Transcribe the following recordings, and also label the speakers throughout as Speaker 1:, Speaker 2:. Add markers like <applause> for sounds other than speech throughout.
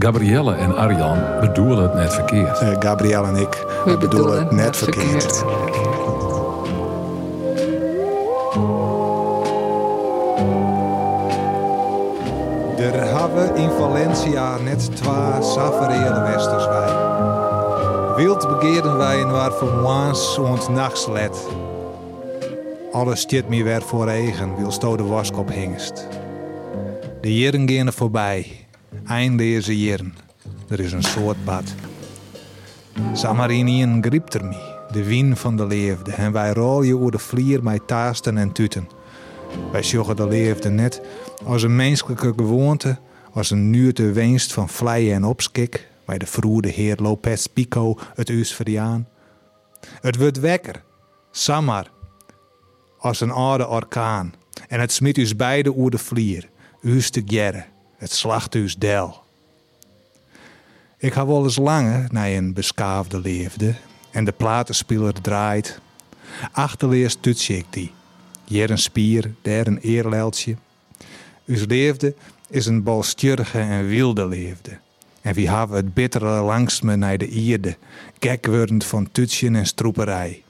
Speaker 1: Gabrielle en Arjan bedoelen het net verkeerd.
Speaker 2: Eh Gabrielle en ik
Speaker 3: We
Speaker 2: bedoelen, het net verkeerd. Er hebben in Valencia net twee safarele westers wij. Wild begeerden wij een waar vermoans ont nachtslet. Alles stiet mij weer voor eigen, wil sto de waskop hingst. De jaren gaan er voorbij, eindeloze jaren. Er is een soort bad. Samarinien griept er mij, de wien van de leefde, en wij rollen over de vlier met taasten en tuten. Wij sjoggen de leefde net als een menselijke gewoonte, als een nuurte wenst van vleien en opskik, bij de vroede heer Lopez Pico het uus verjaan. Het wordt wekker, samar, als een oude orkaan, en het smit us beide oer de vlier, uus te gjerre, het slachthuis del. Ik ga wel eens langer naar een beskaafde leefde, en de platenspeler draait. Achterleers tuts ik die. Hier een spier, daar een eerleltje. Us leefde is een balstjurige en wilde leefde. En wie hebben het bittere langs me naar de ierde, gekwurend van tutschen en stroeperij.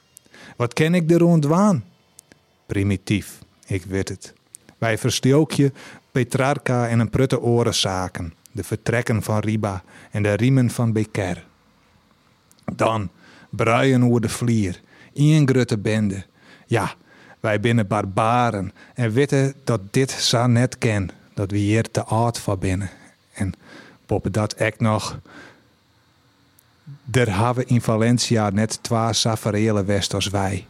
Speaker 2: Wat ken ik er ontwaan? Primitief, ik weet het. Wij verstookje, Petrarca en een prutte oren zaken, de vertrekken van Riba en de riemen van Becker. Dan, bruien oer de vlier, een grote bende. Ja, wij binnen barbaren en weten dat dit sa net ken, dat we hier te oud van binnen. En boppen dat ek nog. Der hebben in Valencia net twee safarele west als wij.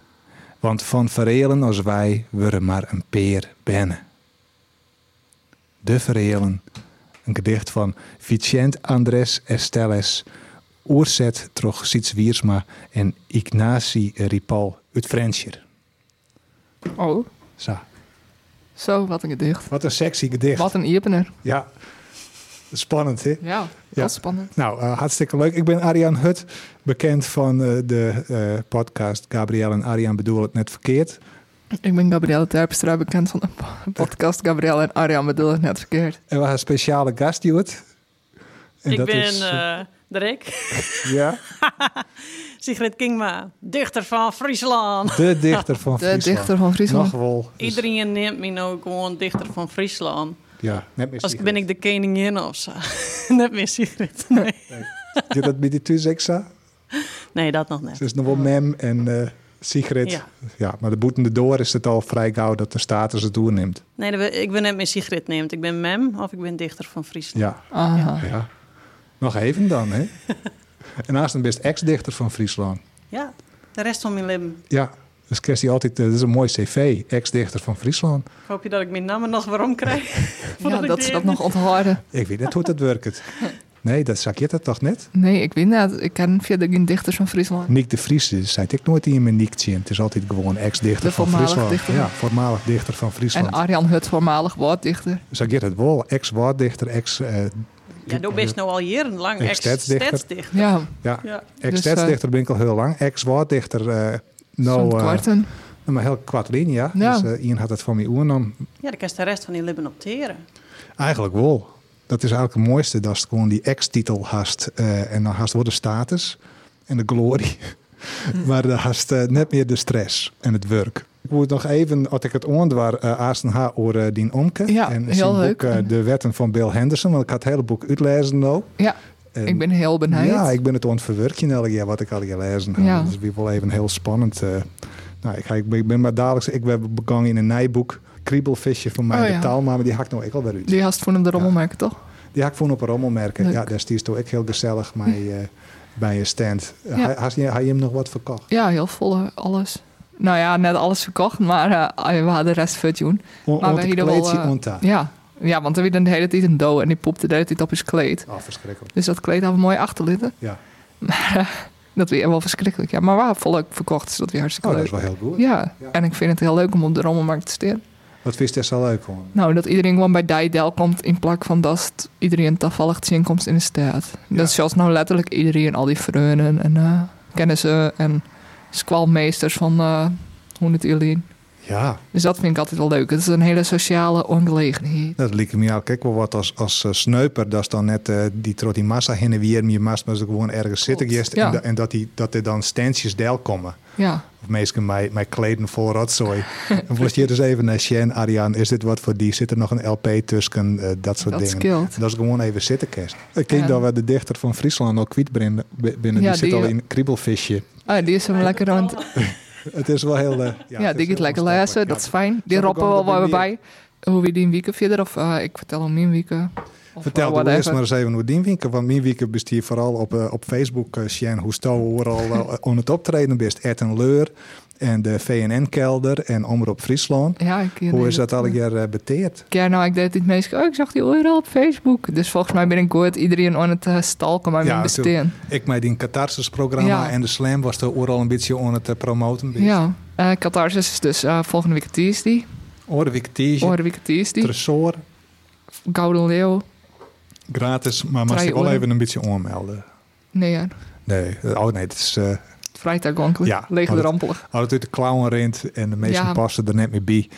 Speaker 2: Want van verelen als wij worden maar een peer bennen. De Verelen, een gedicht van Vicent Andres Estelles, oerzet troch Siets Wiersma en Ignatie Ripal uit Frensjer.
Speaker 3: Oh,
Speaker 2: Zo.
Speaker 3: zo, wat een gedicht.
Speaker 2: Wat een sexy gedicht.
Speaker 3: Wat een opener.
Speaker 2: Ja, spannend hè?
Speaker 3: Ja, dat
Speaker 2: Ja.
Speaker 3: spannend.
Speaker 2: Nou, eh, hartstikke leuk. Ik ben Arjan Hut, bekend van eh, de eh, podcast Gabriel en Arjan bedoel het net verkeerd.
Speaker 3: Ik ben Gabrielle Terpstra, bekend van de po- podcast Gabrielle en Arjan bedoel het net verkeerd.
Speaker 2: En we hebben een speciale gast, Stuart.
Speaker 4: ik ben
Speaker 2: eh,
Speaker 4: eh, de Rick, <laughs>
Speaker 2: ja,
Speaker 4: Sigrid Kingma, dichter van Friesland.
Speaker 2: de dichter van
Speaker 3: <laughs> De
Speaker 2: Friesland.
Speaker 3: dichter van Friesland.
Speaker 2: Nog wel. Dus,
Speaker 4: Iedereen neemt me nou gewoon dichter van Friesland.
Speaker 2: Ja, net meer
Speaker 4: Als ik
Speaker 2: Sigrid.
Speaker 4: ben ik de koningin of zo. <laughs> Net meer Sigrid. Nee.
Speaker 2: Doe dat bij die Tuzexa?
Speaker 4: nee, dat nog net.
Speaker 2: Het is nog wel Mem en eh, Sigrid. Ja.
Speaker 4: Ja.
Speaker 2: maar de boetende door is het al vrij gauw dat de status het doorneemt.
Speaker 4: Nee, dat we- ik ben net meer Sigrid neemt. Ik ben mem of ik ben dichter van Friesland.
Speaker 2: Ja,
Speaker 3: Aha.
Speaker 2: ja. Nog even dan, hè? en naast een best ex-dichter van Friesland.
Speaker 4: Ja. de rest van mijn leven.
Speaker 2: Ja, dus Kirsty altijd, eh, dat is een mooi cv, ex-dichter van Friesland.
Speaker 4: Hoop je dat ik mijn namen nog waarom krijg?
Speaker 3: Ja,
Speaker 4: Voordat ik
Speaker 3: dat
Speaker 4: die-
Speaker 3: ze dat nog onthouden.
Speaker 2: Ik weet net hoe dat werkt. Nee, dat zag je dat toch net?
Speaker 3: Nee, ik weet dat. Ik ken verder geen dichters van Friesland.
Speaker 2: Niek de Vries is- zei ik nooit in mijn Niekje. Het is altijd gewoon ex-dichter
Speaker 3: De
Speaker 2: van
Speaker 3: voormalig
Speaker 2: Friesland.
Speaker 3: dichter.
Speaker 2: Ja, voormalig dichter van
Speaker 3: En
Speaker 2: Friesland.
Speaker 3: Arjan Hut, voormalig woorddichter.
Speaker 2: Zag je dat wel? Ex-woorddichter, ex... eh,
Speaker 4: Ja, dat best nou al jarenlang
Speaker 2: Ik
Speaker 4: ex-stadsdichter.
Speaker 2: stadsdichter.
Speaker 3: Ja,
Speaker 2: ja,
Speaker 4: Ja.
Speaker 3: Dus,
Speaker 2: ex-stadsdichter
Speaker 3: eh,
Speaker 2: ben ik al heel lang. Ex-woorddichter... eh
Speaker 3: zo'n
Speaker 2: nou, eh,
Speaker 3: kwarten.
Speaker 2: nou, maar heel kwart in, ja.
Speaker 3: Ja.
Speaker 2: Dus eh, Ian had het van mij oernam.
Speaker 4: ja, dan kan je de rest van je leven opteren.
Speaker 2: Eigenlijk wel. Dat is eigenlijk het mooiste. Dat is gewoon die ex-titel hast. eh, en dan hast wel de status en de
Speaker 3: <laughs>
Speaker 2: glorie. maar dan hast eh, net meer de stress en het werk. Ik moet nog even, als ik het oordwaar, eh Aasten H. oren Dien Omke.
Speaker 3: Ja,
Speaker 2: en
Speaker 3: heel
Speaker 2: zijn
Speaker 3: leuk.
Speaker 2: boek eh, De Wetten van Bill Henderson. Want ik had het hele boek uitlezen nou.
Speaker 3: Ja,
Speaker 2: En-
Speaker 3: ik ben heel benieuwd.
Speaker 2: Ja, ik ben het ontverwerken elke keer wat ik al gelezen Dus heb.
Speaker 3: Ja.
Speaker 2: Dat is weer wel even heel spannend. eh. nou, ik, ga, ik ben- ik ben maar dadelijk... Ik ben begangen in een nijboek. Kriebelvisje van mij
Speaker 3: Oh,
Speaker 2: de
Speaker 3: ja.
Speaker 2: taal. Maar die hak nou ik al weer uit.
Speaker 3: Die haast voor hem de rommelmerken, toch?
Speaker 2: Die had ik vond op een rommelmerken.
Speaker 3: Leuk.
Speaker 2: Ja, daar stierst ook heel gezellig bij, eh, bij een stand. Eh,
Speaker 3: Ja.
Speaker 2: Hij had je had je hem nog wat verkocht?
Speaker 3: Ja, heel vol eh, alles. Nou ja, net alles verkocht, maar eh, we hadden de rest vertune.
Speaker 2: On,
Speaker 3: Maar
Speaker 2: ont-
Speaker 3: wij hielden wel,
Speaker 2: kleedje
Speaker 3: eh,
Speaker 2: onta.
Speaker 3: Ja. ja, want er werd de hele tijd een dood en die popte de hele tijd op zijn kleed.
Speaker 2: Oh, verschrikkelijk.
Speaker 3: Dus dat kleed hadden we mooi achterlitten.
Speaker 2: Ja.
Speaker 3: Dat weer wel verschrikkelijk, ja. Maar we hadden volop verkocht, dus dat weer hartstikke
Speaker 2: Oh, dat
Speaker 3: leuk.
Speaker 2: is wel heel goed.
Speaker 3: Ja.
Speaker 2: Ja.
Speaker 3: en ik vind het heel leuk om op de rommelmarkt te steren.
Speaker 2: Wat vist is zo leuk gewoon.
Speaker 3: Nou, dat iedereen gewoon bij Dijdel komt in plak van dat het iedereen toevallig te zien komt in de stad.
Speaker 2: Ja.
Speaker 3: Dat is zelfs nou letterlijk iedereen, al die vrienden en eh, kennissen en squalmeesters van eh hoe het jullie.
Speaker 2: Ja,
Speaker 3: Dus dat vind ik altijd wel leuk. Het is een hele sociale ongelegenheid.
Speaker 2: dat liep me ook wel wat als, als eh, sneuper. Dat is dan net eh, die trot die massa heen en weer. Je mast maar ze gewoon ergens zitten.
Speaker 4: Klopt,
Speaker 2: geest
Speaker 3: ja.
Speaker 2: En, da- en dat, die, dat er dan standjes del komen.
Speaker 3: Ja,
Speaker 2: Of meestal mijn, mijn kleden vol rotzooi.
Speaker 3: <laughs>
Speaker 2: en was hier dus even naar Sjen, Arjan, is dit wat voor die? Zit er nog een LP tussen? Eh, dat soort
Speaker 3: dat
Speaker 2: dingen.
Speaker 3: scheelt.
Speaker 2: Dat is gewoon even zitten kerst. Ik denk
Speaker 3: Ja.
Speaker 2: dat we de dichter van Friesland al kwijt binnen. binnen.
Speaker 3: Ja,
Speaker 2: die zit
Speaker 3: die- eh,
Speaker 2: al in kriebelvisje.
Speaker 3: Ah, die is hem lekker aan het...
Speaker 2: Het is wel heel... eh,
Speaker 3: Ja,
Speaker 2: het is
Speaker 3: die gaat
Speaker 2: heel
Speaker 3: lekker
Speaker 2: ontsnappelijk.
Speaker 3: lezen,
Speaker 2: Ja.
Speaker 3: dat is fijn.
Speaker 2: Zal
Speaker 3: Die
Speaker 2: ik
Speaker 3: roppen
Speaker 2: ook
Speaker 3: wel
Speaker 2: nog
Speaker 3: wel
Speaker 2: een
Speaker 3: bij. Hoe we die een week verder, of eh, ik vertel hem mijn week. eh, Of
Speaker 2: Vertel
Speaker 3: wat
Speaker 2: de eerst maar eens even hoe die winkel. Want mijn winkel bestier vooral op, eh, op Facebook, eh Sjen, hoe stoer overal
Speaker 3: <laughs>
Speaker 2: eh, aan het optreden bent. Ed en Leur en de VNN-kelder en Omroep Friesland.
Speaker 3: Ja, ik,
Speaker 2: Hoe is dat al jaar eh, beteerd?
Speaker 3: Ja, nou, ik deed dit meestal. Oh, ik zag die overal op Facebook. Dus volgens mij ben ik goed iedereen aan het eh, stalken, maar
Speaker 2: Ja,
Speaker 3: mijn bestaan.
Speaker 2: Ik met die Catharsis-programma
Speaker 3: Ja.
Speaker 2: en de Slam was er overal een beetje aan het eh, promoten. bent.
Speaker 3: Ja, Eh Catharsis is dus eh, volgende week Tuesday.
Speaker 2: Oorwijk Tiesje,
Speaker 3: Vorige week Tuesday.
Speaker 2: Tresor,
Speaker 3: Gouden Leeuw.
Speaker 2: gratis, maar mag
Speaker 3: Drie
Speaker 2: ik wel
Speaker 3: uur.
Speaker 2: even een beetje aanmelden.
Speaker 3: Nee, ja.
Speaker 2: Nee, oh nee, het is... eh
Speaker 3: Vrijdag onkelijk.
Speaker 2: Ja,
Speaker 3: Leeg
Speaker 2: maar
Speaker 3: de
Speaker 2: dat-
Speaker 3: rampelig.
Speaker 2: als het uit de klauwen rent en de meesten
Speaker 3: Ja.
Speaker 2: passen er net meer bij,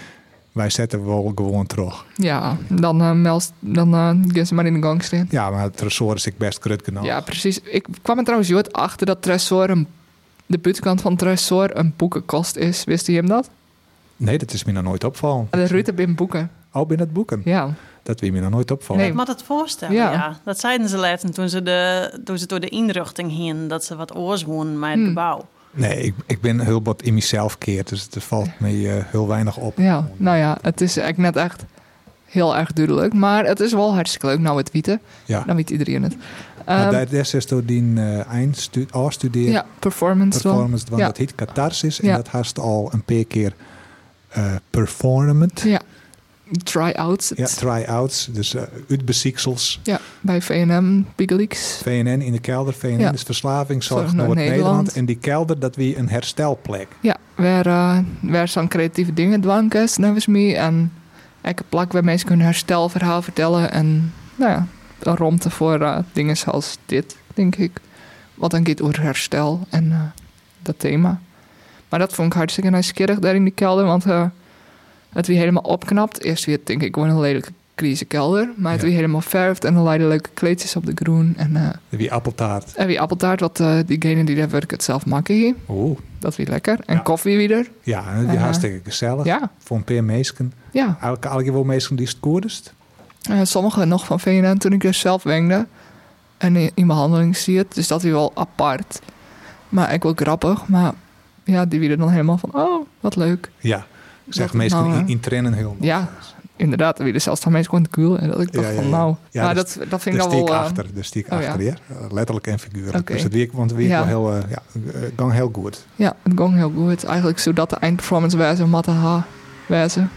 Speaker 2: wij zetten wel gewoon terug.
Speaker 3: Ja, dan eh melst, dan eh, gaan ze maar in de gang staan.
Speaker 2: Ja, maar Tresor is ik best krut genoeg.
Speaker 3: Ja, precies. Ik kwam er trouwens Jood achter dat Tresor een, de buitenkant van Tresor een boekenkost is. Wist je hem dat? Ah,
Speaker 2: Nee, dat is me nog nooit opvallen.
Speaker 3: De Rutte bin boeken.
Speaker 2: Al binnen het boeken.
Speaker 3: Ja.
Speaker 2: Dat wie me nog nooit opvallen.
Speaker 3: Nee.
Speaker 4: Ik moet het voorstellen,
Speaker 3: Ja.
Speaker 4: ja. Dat zeiden ze later toen ze, de, toen ze door de inrichting hingen... dat ze wat oors woonden met het
Speaker 3: Hmm.
Speaker 4: gebouw.
Speaker 2: Nee, ik, ik ben heel wat in mezelf keert. Dus het valt me eh, heel weinig op.
Speaker 3: Ja, nou ja, het is eigenlijk net echt heel erg duidelijk. Maar het is wel hartstikke leuk. Nou, het wieten.
Speaker 2: Ja.
Speaker 3: Dan weet iedereen het.
Speaker 2: maar
Speaker 3: Ehm,
Speaker 2: daar des is door die eh eindstu- afstudeer
Speaker 3: ja, performance wel.
Speaker 2: performance. Want
Speaker 3: Ja.
Speaker 2: dat heet catharsis.
Speaker 3: Ja.
Speaker 2: En dat haast al een paar keer eh performant.
Speaker 3: Ja. Try-outs.
Speaker 2: Ja, try-outs. Dus eh uitbesieksels.
Speaker 3: Ja, bij VNM, Big Leaks.
Speaker 2: VNN in de kelder. VNN
Speaker 3: Ja.
Speaker 2: is Verslavingszorg
Speaker 3: Zorg Noord-Nederland.
Speaker 2: Noord-Nederland. En die kelder, dat wie een herstelplek.
Speaker 3: Ja, waar, eh waar zo'n creatieve dingen dwankes, namens mij. nou En elke plak waar mensen hun herstelverhaal vertellen. En nou ja, een romte voor eh, dingen zoals dit, denk ik. Wat dan gaat over herstel en eh, dat thema. Maar dat vond ik hartstikke nieuwsgierig daar in die kelder. Want eh, het weer helemaal opknapt. Eerst weer, denk ik, gewoon een lelijke kelder. Maar het
Speaker 2: Ja.
Speaker 3: weer helemaal verfd en er leiden leuke kleedjes op de groen. En, eh
Speaker 2: Wie appeltaart.
Speaker 3: en wie appeltaart, wat eh, diegenen die daar werken het zelf maken hier.
Speaker 2: Oeh.
Speaker 3: Dat weer lekker. En
Speaker 2: Ja.
Speaker 3: koffie weer.
Speaker 2: Ja, en die
Speaker 3: Aha.
Speaker 2: hartstikke gezellig.
Speaker 3: Ja,
Speaker 2: Voor een paar meesken.
Speaker 3: ja.
Speaker 2: Elke alge wel meestal die het koerdest.
Speaker 3: Eh, sommigen nog van VNN toen ik er zelf wengde. En in, in mijn handeling zie je het. Dus dat is wel apart. Maar ik wel grappig. Maar ja, die werden dan helemaal van... Oh, wat leuk.
Speaker 2: Ja. Ik zeg
Speaker 3: Dat-
Speaker 2: meestal
Speaker 3: nou,
Speaker 2: in,
Speaker 3: hè.
Speaker 2: in trennen heel Dus nog.
Speaker 3: Ja, inderdaad. Die werden zelfs dan mensen gewoon te cool. En dat ik dacht
Speaker 2: Ja, ja,
Speaker 3: van
Speaker 2: ja.
Speaker 3: nou...
Speaker 2: Ja,
Speaker 3: maar
Speaker 2: dus-
Speaker 3: dat, dat vind
Speaker 2: Daar
Speaker 3: ik dan
Speaker 2: stiek
Speaker 3: wel... eh,
Speaker 2: achter, daar stiek
Speaker 3: oh ja.
Speaker 2: achter, ja. Letterlijk en figuurlijk.
Speaker 3: Oké.
Speaker 2: Dus dat week, want week
Speaker 3: Ja.
Speaker 2: wel heel, eh, ja, eh, gang heel goed.
Speaker 3: ja, het ging heel goed. Eigenlijk zodat de eindperformance wijzen, matte H
Speaker 2: <laughs>
Speaker 3: wijzen.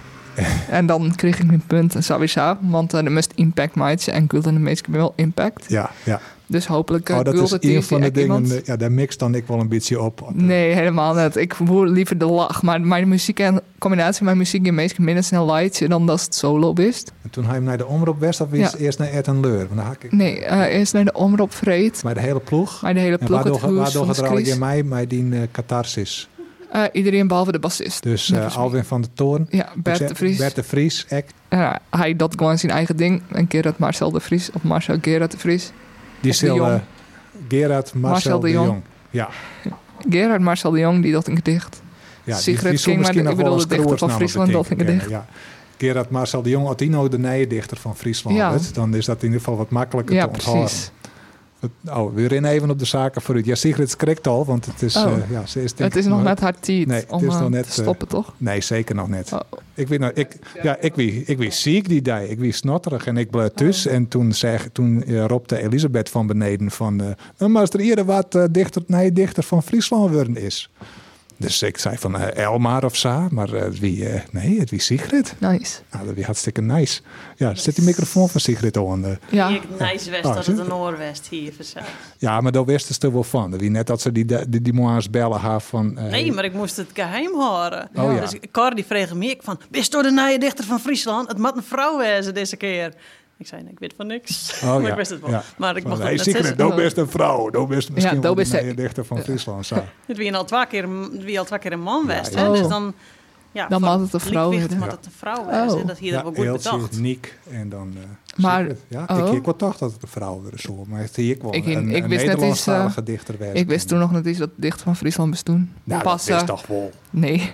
Speaker 3: en dan kreeg ik mijn punt en sowieso. Want eh, de must impact maatje en cool en de meeste wel impact.
Speaker 2: Ja, ja.
Speaker 3: Dus hopelijk eh
Speaker 2: oh, dat
Speaker 3: cool
Speaker 2: is
Speaker 3: dat die-
Speaker 2: een van
Speaker 3: die
Speaker 2: de
Speaker 3: echt iemand-
Speaker 2: dingen, eh, ja, daar mixt dan ik wel een beetje op. eh,
Speaker 3: Nee, helemaal niet. Ik hoor liever de lach. Maar mijn muziek en combinatie met muziek in meestal minder snel light dan dat het solo bist.
Speaker 2: En toen hij hem naar de omroep West of is
Speaker 3: Ja.
Speaker 2: eerst naar Ed en Leur. Want dan hak ik
Speaker 3: Nee, eh, eerst naar de omroep vreed.
Speaker 2: maar de hele ploeg.
Speaker 3: Maar de hele
Speaker 2: En
Speaker 3: ploeg het
Speaker 2: waardoor,
Speaker 3: huis
Speaker 2: waardoor
Speaker 3: van
Speaker 2: gaat er al
Speaker 3: Skries.
Speaker 2: in mij, mij die eh, catharsis.
Speaker 3: Eh, iedereen behalve de bassist.
Speaker 2: Dus
Speaker 3: Dat
Speaker 2: eh,
Speaker 3: is-
Speaker 2: Alwin van der Toorn.
Speaker 3: Ja, Bert
Speaker 2: Ik
Speaker 3: de
Speaker 2: zeg,
Speaker 3: Vries.
Speaker 2: Bert de Vries, ek,
Speaker 3: Ja, hij dat gewoon zijn eigen ding. En Gerard Marcel de Vries. Of Marcel Gerard de Vries.
Speaker 2: die
Speaker 3: Of de
Speaker 2: stil,
Speaker 3: Jong.
Speaker 2: eh, Gerard, Marcel, de, Jong. Ja.
Speaker 3: Gerard Marcel de Jong, die dat een gedicht.
Speaker 2: Ja, die-
Speaker 3: Sigrid
Speaker 2: die
Speaker 3: King,
Speaker 2: zou misschien
Speaker 3: maar
Speaker 2: nog
Speaker 3: ik
Speaker 2: wel
Speaker 3: bedoel
Speaker 2: eens
Speaker 3: de dichter van
Speaker 2: Kroersnamen
Speaker 3: Friesland, dat
Speaker 2: betekenen,
Speaker 3: ik
Speaker 2: Ja.
Speaker 3: een
Speaker 2: Gerard Marcel de Jong, Ottino de Nijendichter van Friesland.
Speaker 3: Ja.
Speaker 2: hè? Dan is dat in ieder geval wat makkelijker
Speaker 3: Ja,
Speaker 2: te onthouden.
Speaker 3: precies.
Speaker 2: Oh, we rennen even op de zaken vooruit. Ja, Sigrid schrikt al, want het is...
Speaker 3: Oh.
Speaker 2: eh, ja, ze is denk
Speaker 3: Het is
Speaker 2: ik
Speaker 3: nog net haar tijd
Speaker 2: Nee, het
Speaker 3: om
Speaker 2: is
Speaker 3: eh,
Speaker 2: nog net,
Speaker 3: te
Speaker 2: eh,
Speaker 3: stoppen, toch?
Speaker 2: Nee, zeker nog net.
Speaker 3: Oh.
Speaker 2: Ik weet nou, ik, ja, ik wie, ik wie ziek die dag. Ik wie snotterig en ik bleef thuis.
Speaker 4: Oh.
Speaker 2: En toen, zeg, toen eh, roepte Elisabeth van beneden van... eh, nou, maar als er eerder wat eh, dichter, nee, dichter van Friesland worden is. Dus ik zei van eh, Elmar of zo, maar eh, wie, eh, nee, het wie Sigrid.
Speaker 3: Nice.
Speaker 2: Nou, dat is hartstikke nice. Ja, zet die microfoon van Sigrid aan. eh.
Speaker 3: Ja,
Speaker 4: Hier, Nijswest,
Speaker 2: Ah,
Speaker 4: dat
Speaker 2: zie
Speaker 4: het
Speaker 2: je?
Speaker 4: een oorwest hier verzeild.
Speaker 2: Ja, maar daar wisten ze er wel van. Dat Wie net dat ze die, die, die moa's bellen haar van... eh,
Speaker 4: Nee, maar ik moest het geheim horen.
Speaker 2: Oh, ja.
Speaker 4: Dus Cor die vroeg me ik van... Bist door de nije dichter van Friesland? Het moet een vrouw wezen deze keer. Ik zei, nee, ik weet van niks.
Speaker 2: Oh,
Speaker 4: <laughs> maar
Speaker 2: ja.
Speaker 4: ik wist het wel.
Speaker 2: Ja.
Speaker 4: Maar ik
Speaker 2: van,
Speaker 4: mocht
Speaker 2: hey,
Speaker 4: het net
Speaker 2: Sigrid,
Speaker 4: zeggen.
Speaker 2: nou best een vrouw. Nou best misschien wel
Speaker 3: nou
Speaker 2: de
Speaker 3: best-
Speaker 4: <laughs>
Speaker 2: nije dichter van Friesland. zo.
Speaker 4: Het wie een al twee keer, een- het wie al twee keer een man
Speaker 2: Ja,
Speaker 4: west.
Speaker 2: ja.
Speaker 4: hè?
Speaker 3: Oh.
Speaker 4: Dus dan Ja,
Speaker 3: Dan
Speaker 4: van
Speaker 3: moet het een vrouw
Speaker 4: lichtwicht
Speaker 3: worden.
Speaker 4: moet het een vrouw wezen.
Speaker 3: Oh.
Speaker 4: En dat hier
Speaker 2: ja,
Speaker 4: hebben we goed bedacht.
Speaker 2: Niek en dan... eh,
Speaker 3: Maar-
Speaker 2: zit het. ja,
Speaker 3: oh.
Speaker 2: Ik, ik wel dacht dat het een vrouw weer zo, maar het ik wel
Speaker 3: Ik-
Speaker 2: een,
Speaker 3: ik
Speaker 2: een
Speaker 3: wist net iets,
Speaker 2: Nederlandstalige dichter werd.
Speaker 3: Ik wist toen nog niet eens dat het dicht van Friesland bestond.
Speaker 2: Nou,
Speaker 3: Pas,
Speaker 2: dat is
Speaker 3: eh,
Speaker 2: toch wel...
Speaker 3: Nee.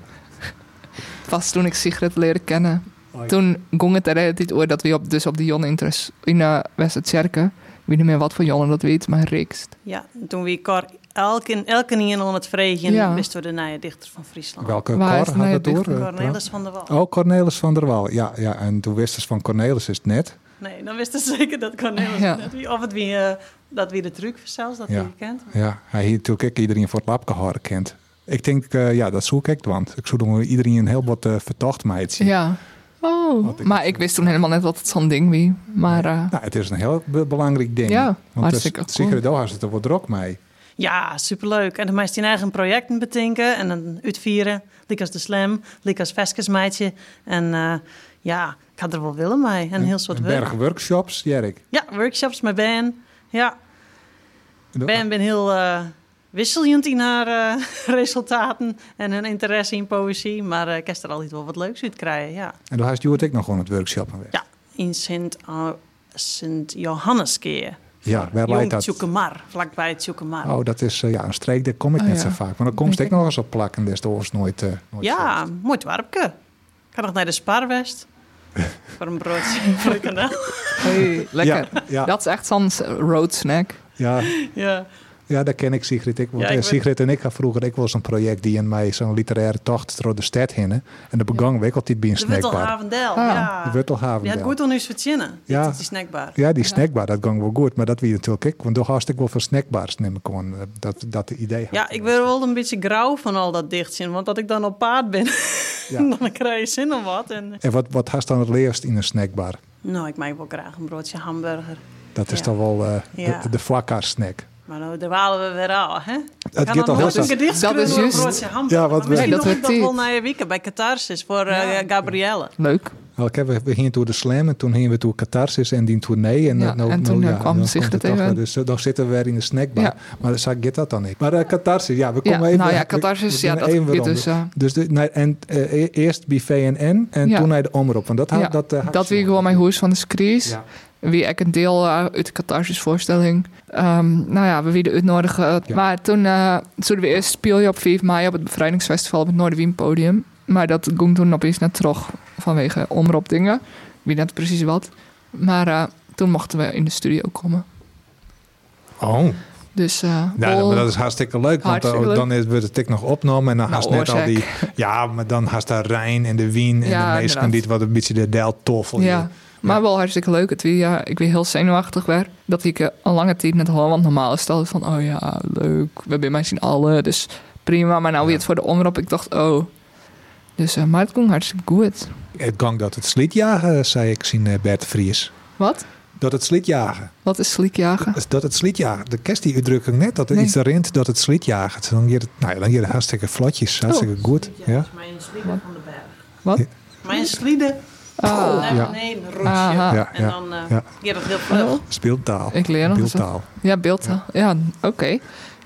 Speaker 3: Pas toen ik Sigrid leerde kennen.
Speaker 2: Ai.
Speaker 3: Toen ging het er altijd over dat we op, dus op de Jon interest in uh, Westertjerken. Wie niet meer wat voor Jonnen dat weet, maar Riks.
Speaker 4: Ja, en toen wie Cor elke, elke hier aan het vregen,
Speaker 3: Ja.
Speaker 4: wist door de nije dichter van Friesland.
Speaker 2: Welke
Speaker 3: Waar is
Speaker 2: Cor had
Speaker 3: mijn
Speaker 2: het door?
Speaker 3: dichter
Speaker 2: eh,
Speaker 4: Cornelis van der Wal.
Speaker 2: Oh, Cornelis van der Wal. Ja, ja, en toen wisten ze van Cornelis is het net.
Speaker 4: Nee, dan wist ze zeker dat Cornelis
Speaker 3: Ja.
Speaker 4: net wie, of het wie, eh, dat wie de truc zelfs, dat
Speaker 2: Ja.
Speaker 4: wie je kent.
Speaker 2: Ja, hij heeft natuurlijk ook iedereen voor het lapje gehouden kent. Ik denk, eh, ja, dat zoek ik want Ik zoek nog iedereen een heel wat eh vertocht meidje.
Speaker 3: Ja. Oh.
Speaker 2: Had ik
Speaker 3: Maar
Speaker 2: het
Speaker 3: ik
Speaker 2: voor.
Speaker 3: wist toen helemaal net wat het zo'n ding wie. Maar eh,
Speaker 2: Nou, het is een heel be- belangrijk ding.
Speaker 3: Ja,
Speaker 2: Want
Speaker 3: hartstikke
Speaker 2: dus,
Speaker 3: cool.
Speaker 2: Sigrid Doha zit er wat druk mee.
Speaker 4: Ja, superleuk. En dan meest zijn eigen projecten betinken en dan uitvieren. Likas de Slam, Likas Veskesmeidje. En eh, ja, ik had er wel willen mee. En een heel soort
Speaker 2: Een
Speaker 4: werk.
Speaker 2: berg workshops, Jerk.
Speaker 4: Ja, workshops met Ben. Ja,
Speaker 2: En-
Speaker 4: Ben ben heel eh, wisselend in haar eh, <laughs> resultaten en hun interesse in poëzie. Maar eh, ik heb er altijd wel wat leuks uit krijgen, ja.
Speaker 2: En toen had Stuart ik nog gewoon het workshop aan weg.
Speaker 4: Ja, in Sint, eh, Sint Johanneskeer.
Speaker 2: Ja, waar leidt
Speaker 4: Jong
Speaker 2: dat?
Speaker 4: Tjukemar, vlakbij Tjukemar.
Speaker 2: Oh, dat is eh, ja, een streek, daar kom ik
Speaker 3: Oh,
Speaker 2: net
Speaker 3: ja.
Speaker 2: zo vaak. Maar dan komst
Speaker 3: Denk
Speaker 2: ik nog eens op plakken, dus dat was nooit, eh, nooit
Speaker 4: ja,
Speaker 2: geweest.
Speaker 4: mooi dwarpke. Ik kan nog naar de
Speaker 2: <laughs>
Speaker 4: Sparwest. voor een broodje <laughs> voor een kanaal.
Speaker 3: hey, lekker.
Speaker 2: Ja, ja,
Speaker 3: Dat is echt zo'n s- road snack.
Speaker 2: ja,
Speaker 4: ja.
Speaker 2: Ja, dat ken ik Sigrid. Ik, want,
Speaker 4: Ja, ik
Speaker 2: eh,
Speaker 4: weet-
Speaker 2: Sigrid en ik gaan vroeger ik was een project die in mij zo'n literaire tocht door de stad hinnen. En dat begang we ik altijd bij een
Speaker 4: De Wuttel
Speaker 2: snackbar.
Speaker 4: Havendel,
Speaker 3: Ah,
Speaker 4: ja.
Speaker 2: De
Speaker 4: Je
Speaker 2: Wuttelhaven.
Speaker 4: had goed om nu verzinnen.
Speaker 2: Ja.
Speaker 4: Ja. Die snackbar.
Speaker 2: Ja, die snackbar, dat ging wel goed. Maar dat wie natuurlijk ik. Want toch had ik wel van snackbars nemen kon. eh, Dat, dat de idee had.
Speaker 4: Ja, ik ben wel een beetje grauw van al dat dichtzin. Want dat ik dan op paard ben, <laughs>
Speaker 2: Ja.
Speaker 4: dan krijg je zin om wat. En... eh,
Speaker 2: En wat, wat had dan het leerst in een snackbar?
Speaker 4: Nou, ik maak wel graag een broodje hamburger.
Speaker 2: Dat is
Speaker 4: Ja.
Speaker 2: dan wel eh,
Speaker 4: Ja.
Speaker 2: de, de vlakkaar snack.
Speaker 4: Maar nou, daar walen we weer al, hè?
Speaker 2: Het gaat al heel
Speaker 4: nooit
Speaker 2: snel.
Speaker 4: een gedicht
Speaker 3: Dat is
Speaker 4: schrijven over
Speaker 3: juist-
Speaker 4: broodje hamburger.
Speaker 2: Ja, wat
Speaker 4: Maar
Speaker 2: we-
Speaker 4: misschien
Speaker 3: Nee, dat
Speaker 4: doe ik dat
Speaker 3: wordt
Speaker 4: wel
Speaker 3: dit.
Speaker 4: na je weekend bij Catharsis voor eh, Gabrielle.
Speaker 3: Leuk.
Speaker 2: Nou, ik heb- we gingen door de slam en toen gingen we door Catharsis en die tournee. En,
Speaker 3: Ja,
Speaker 2: dan- nou,
Speaker 3: en toen,
Speaker 2: nou,
Speaker 3: eh, kwam
Speaker 2: dan
Speaker 3: zich
Speaker 2: komt
Speaker 3: dat
Speaker 2: het toch
Speaker 3: even.
Speaker 2: wel. Dus eh, dan zitten we weer in de snackbar.
Speaker 3: Ja.
Speaker 2: Maar dan zag ik dat dan niet. Maar eh, Catharsis, ja, we komen
Speaker 3: ja,
Speaker 2: even...
Speaker 3: nou ja,
Speaker 2: we-
Speaker 3: catharsis,
Speaker 2: we
Speaker 3: ja,
Speaker 2: doen
Speaker 3: dat
Speaker 2: even
Speaker 3: weet
Speaker 2: ronden.
Speaker 3: dus. eh,
Speaker 2: Dus de, nou, en, eh, e- eerst bij VNN en
Speaker 3: Ja.
Speaker 2: toen naar de omroep. Want dat had...
Speaker 3: ja,
Speaker 2: dat, eh, had
Speaker 3: dat
Speaker 2: ze
Speaker 3: wie
Speaker 2: nog.
Speaker 3: gewoon mijn hoes van de screes.
Speaker 2: Ja.
Speaker 3: wie ik een deel eh, uit de catharsisvoorstelling. Ehm nou ja, we wilden uitnodigen.
Speaker 2: Ja.
Speaker 3: Maar toen eh, zullen we eerst spelen op 5 mei op het bevrijdingsfestival op het Noorderwienpodium. Maar dat ging toen opeens naar Trog vanwege omroepdingen. Wie net precies wat. Maar eh, toen mochten we in de studio komen.
Speaker 2: Oh,
Speaker 3: Dus eh
Speaker 2: nou,
Speaker 3: wel-
Speaker 2: maar dat is hartstikke leuk. Want eh,
Speaker 3: Hartstikke leuk.
Speaker 2: dan is, wordt het tik nog opgenomen en dan
Speaker 3: Nou,
Speaker 2: haast net al
Speaker 3: oorzaak.
Speaker 2: die... Ja, maar dan haast daar Rijn en de Wien en
Speaker 3: Ja,
Speaker 2: de
Speaker 3: inderdaad.
Speaker 2: Meesken die het wat een beetje de Deltoffel.
Speaker 3: ja. Maar wel hartstikke leuk. Het wie, ja, ik weer heel zenuwachtig werd. Dat ik eh, een lange tijd net hoor. Want normaal is het altijd van... Oh ja, leuk. We bij mij zien alle. Dus prima. Maar nou weer het voor de omroep. Ik dacht, oh. Dus eh maar het ging hartstikke goed.
Speaker 2: Het gang dat het slietjagen, zei ik, zien eh, Bert Vries.
Speaker 3: Wat?
Speaker 2: Dat het slietjagen.
Speaker 3: Wat is slikjagen?
Speaker 2: Dus Dat het slietjagen. De kerst die uitdrukking net, dat er
Speaker 3: Nee.
Speaker 2: iets erin zit dat het slietjagen. Dan hier, nou ja, dan hier hartstikke
Speaker 3: Oh.
Speaker 2: vlotjes, hartstikke goed. Ja.
Speaker 4: Mijn slieden van de berg.
Speaker 3: Wat?
Speaker 4: Mijn slieden
Speaker 3: Ah,
Speaker 4: naar
Speaker 2: ja.
Speaker 4: beneden
Speaker 3: Aha.
Speaker 4: roetje.
Speaker 2: Ja,
Speaker 4: En
Speaker 2: ja.
Speaker 4: dan eh
Speaker 2: ja.
Speaker 4: je hebt het heel vlug.
Speaker 2: Speeltaal.
Speaker 3: Ik leer nog eens Ah. wat.
Speaker 2: Beeldtaal.
Speaker 3: Ja, beeldtaal. Ja, oké.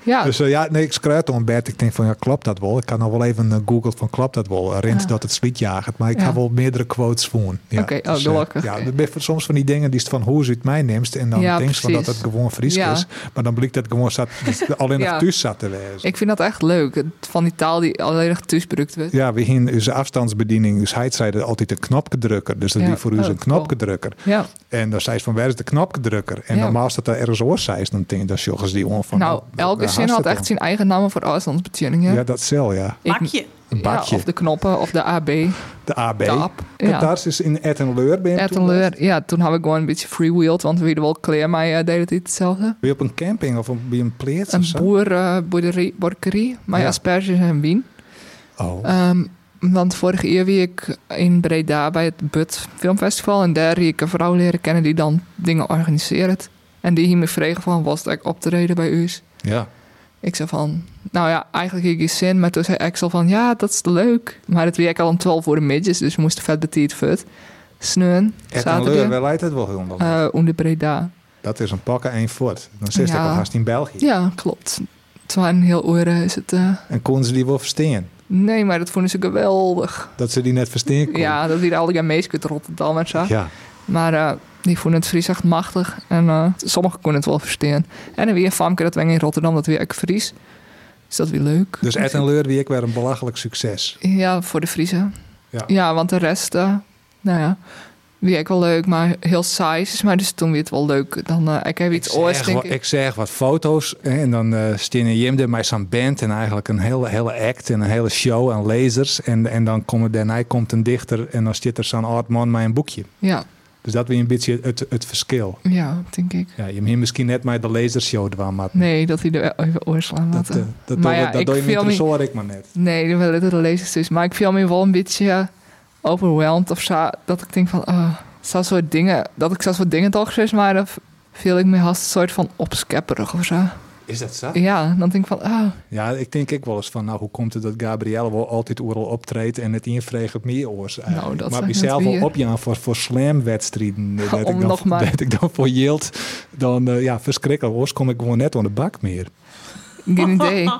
Speaker 3: Ja,
Speaker 2: Dus eh, ja, nee, ik schrijf om Bert. Ik denk van, ja, klopt dat wel? Ik kan nog wel even eh, googlen van, klopt dat wel? Rent
Speaker 3: Ja.
Speaker 2: dat het slietjagen. Maar ik
Speaker 3: Ah. Ja.
Speaker 2: ga wel meerdere quotes voor. Ja,
Speaker 3: Oké,
Speaker 2: eh,
Speaker 3: oh, gelukkig.
Speaker 2: ja, er ben je soms van die dingen die het van hoe uit mij neemt. En dan
Speaker 3: Ja,
Speaker 2: denk je van dat het
Speaker 3: precies.
Speaker 2: gewoon Fries
Speaker 3: Ja.
Speaker 2: is. Maar dan blijkt dat het gewoon zat, alleen nog
Speaker 3: Ja.
Speaker 2: thuis zat te wezen.
Speaker 3: ik vind dat echt leuk. Het- Van die taal die alleen nog thuis gebruikt wordt.
Speaker 2: Ja, we in onze afstandsbediening, dus hij zei dat altijd een knopgedrukker. Dus dat
Speaker 3: Ja.
Speaker 2: die voor u
Speaker 3: Oh,
Speaker 2: een knopgedrukker.
Speaker 3: Ja.
Speaker 2: En dan zei ze van, waar is de knopgedrukker? En
Speaker 3: Ja.
Speaker 2: normaal staat daar ergens oor zei ze dan tegen dat jongens die on van...
Speaker 3: nou,
Speaker 2: oh,
Speaker 3: elke
Speaker 2: waar
Speaker 3: zin
Speaker 2: haast
Speaker 3: had
Speaker 2: het
Speaker 3: echt
Speaker 2: om?
Speaker 3: zijn eigen namen voor afstandsbetjeningen.
Speaker 2: Ja, dat cel, ja.
Speaker 3: Ik-
Speaker 4: Bakje.
Speaker 2: Een badje.
Speaker 3: Ja, of de knoppen, of de AB,
Speaker 2: de AB.
Speaker 3: de AP. Ja.
Speaker 2: Catharsis in Ettenleur ben je
Speaker 3: Ja,
Speaker 2: toen
Speaker 3: toen,
Speaker 2: geweest?
Speaker 3: weer- ja, toen hebben we gewoon een beetje freewheeled, want we deden wel kleren, maar ja, deden het iets hetzelfde.
Speaker 2: Ben je op een camping of op, bij een pleert of
Speaker 3: Een
Speaker 2: zo?
Speaker 3: boer, eh, boerderij, borkerie, maar ja,
Speaker 2: Ja.
Speaker 3: asperges en wien.
Speaker 2: Oh,
Speaker 3: Ehm, want vorige eeuw wie ik in Breda bij het But Filmfestival en daar heb ik een vrouw leren kennen die dan dingen organiseert. En die hier me vregen van, was dat ik op te reden bij u?
Speaker 2: ja.
Speaker 3: Ik zei van, nou ja, eigenlijk heb ik geen zin. Maar toen zei Axel van, ja, dat is leuk. Maar het werk al om 12 voor de midges, dus we moesten vet betiet vet. Sneun,
Speaker 2: Ettenleur,
Speaker 3: zaterdag,
Speaker 2: waar leidt het wel onder?
Speaker 3: eh onder Breda.
Speaker 2: dat is een pakken één voort. Dan zit ik
Speaker 3: Ja.
Speaker 2: al haast in België.
Speaker 3: Ja, klopt. Het waren heel oren is het. eh,
Speaker 2: En konden ze die wel verstaan?
Speaker 3: Nee, maar dat vonden ze geweldig.
Speaker 2: Dat ze die net verstinken kon.
Speaker 3: Ja, dat hier al die meest uit Rotterdam en zo.
Speaker 2: Ja.
Speaker 3: Maar eh, die vonden het Fries echt machtig. En eh, sommigen konden het wel verstaan. En dan weer Famke, dat wij in Rotterdam, dat weer ik Fries. Is dat weer leuk?
Speaker 2: Dus Ed en Leur, wie ik weer een belachelijk succes.
Speaker 3: Ja, voor de Friese.
Speaker 2: Ja.
Speaker 3: want de rest, eh, nou ja, wie ik wel leuk, maar heel saai is. Maar dus toen weer het wel leuk. Dan eh, ik heb iets
Speaker 2: ik,
Speaker 3: ooit,
Speaker 2: zeg
Speaker 3: denk
Speaker 2: wat,
Speaker 3: ik.
Speaker 2: ik zeg wat foto's hè, en dan eh stinnen Jim er met zo'n band en eigenlijk een hele, hele act en een hele show en lasers. En, en dan komen, daarna komt een dichter en dan zit er zo'n oud man met een boekje.
Speaker 3: Ja,
Speaker 2: Dus dat weer een beetje het, het, het verschil.
Speaker 3: ja, denk ik.
Speaker 2: Ja, je hem hier misschien net met de lasershow dwan, maar
Speaker 3: Nee, dat hij er even oorslaan
Speaker 2: dat,
Speaker 3: had.
Speaker 2: eh, dat,
Speaker 3: Maar
Speaker 2: doe-
Speaker 3: ja,
Speaker 2: dat
Speaker 3: ik
Speaker 2: doe je
Speaker 3: film
Speaker 2: met
Speaker 3: niet-
Speaker 2: zo ik maar net.
Speaker 3: Nee, dat willen de lezers dus. Maar ik viel me wel een beetje eh, overwhelmed of zo. Dat ik denk van, ah, zo'n soort dingen. Dat ik zo'n soort dingen toch zeg maar dan viel ik me haast een soort van opskepperig of zo.
Speaker 2: Is dat zo?
Speaker 3: Ja, dan denk ik van, ah,
Speaker 2: Ja, ik denk ik wel eens van, nou, hoe komt het dat Gabrielle wel altijd oorlog optreedt en het invreeg op meer oors eigenlijk.
Speaker 3: Nou, dat
Speaker 2: maar
Speaker 3: zeg ik
Speaker 2: mezelf
Speaker 3: net
Speaker 2: wel
Speaker 3: weer.
Speaker 2: opjaan voor, voor slamwedstrijden. eh, Dat,
Speaker 3: Om
Speaker 2: ik dan-
Speaker 3: nog maar-
Speaker 2: dat ik dan voor yield, dan eh, ja, verschrikkelijk. Oors kom ik gewoon net aan de bak meer.
Speaker 3: geen idee.
Speaker 4: <laughs>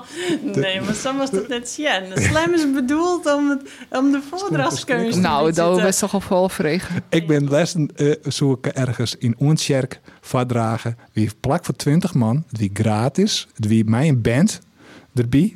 Speaker 4: Nee, maar soms was dat net Sjen. Slam is bedoeld om, het, om de voordrachtskeuze
Speaker 3: nou,
Speaker 4: dat
Speaker 3: dat was toch op wel vregen.
Speaker 2: Ik ben lessen eh, zoek ik ergens in Oensjerk vaardragen. Wie plak voor 20 man, het wie gratis, het wie mij een band erbij.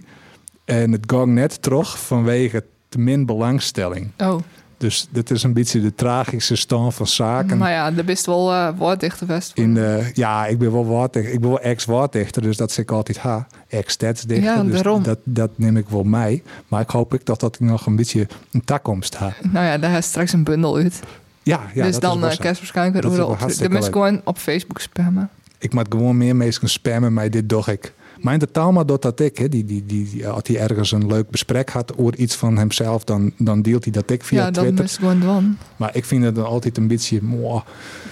Speaker 2: En het ging net terug vanwege te min belangstelling.
Speaker 3: Oh,
Speaker 2: Dus dat is een beetje de tragische stand van zaken.
Speaker 3: maar nou ja, dat best wel eh woorddichter best.
Speaker 2: In de, ja, ik ben wel waardig, ik ben wel ex-waardichter, dus dat zeg ik altijd ha. Ex-stadsdichter,
Speaker 3: Ja,
Speaker 2: dus
Speaker 3: daarom.
Speaker 2: dat, dat neem ik wel mee. Maar ik hoop ik dat dat ik nog een beetje een takkomst ha.
Speaker 3: Nou ja, daar is straks een bundel uit.
Speaker 2: Ja, ja
Speaker 3: dus
Speaker 2: dat
Speaker 3: dan
Speaker 2: is wel
Speaker 3: eh
Speaker 2: zo.
Speaker 3: kerst waarschijnlijk
Speaker 2: Dat is
Speaker 3: weer
Speaker 2: wel
Speaker 3: op.
Speaker 2: hartstikke
Speaker 3: De mensen
Speaker 2: leuk.
Speaker 3: gewoon op Facebook spammen.
Speaker 2: Ik moet gewoon meer mensen spammen, maar dit doch ik. Mijn de Talma doet dat ik, hè. Die, die, die, die- als hij ergens een leuk besprek had over iets van hemzelf, dan, dan deelt hij dat ik via
Speaker 3: ja, dan
Speaker 2: Twitter.
Speaker 3: is het gewoon dwan.
Speaker 2: Maar ik vind het dan altijd een beetje, mwah,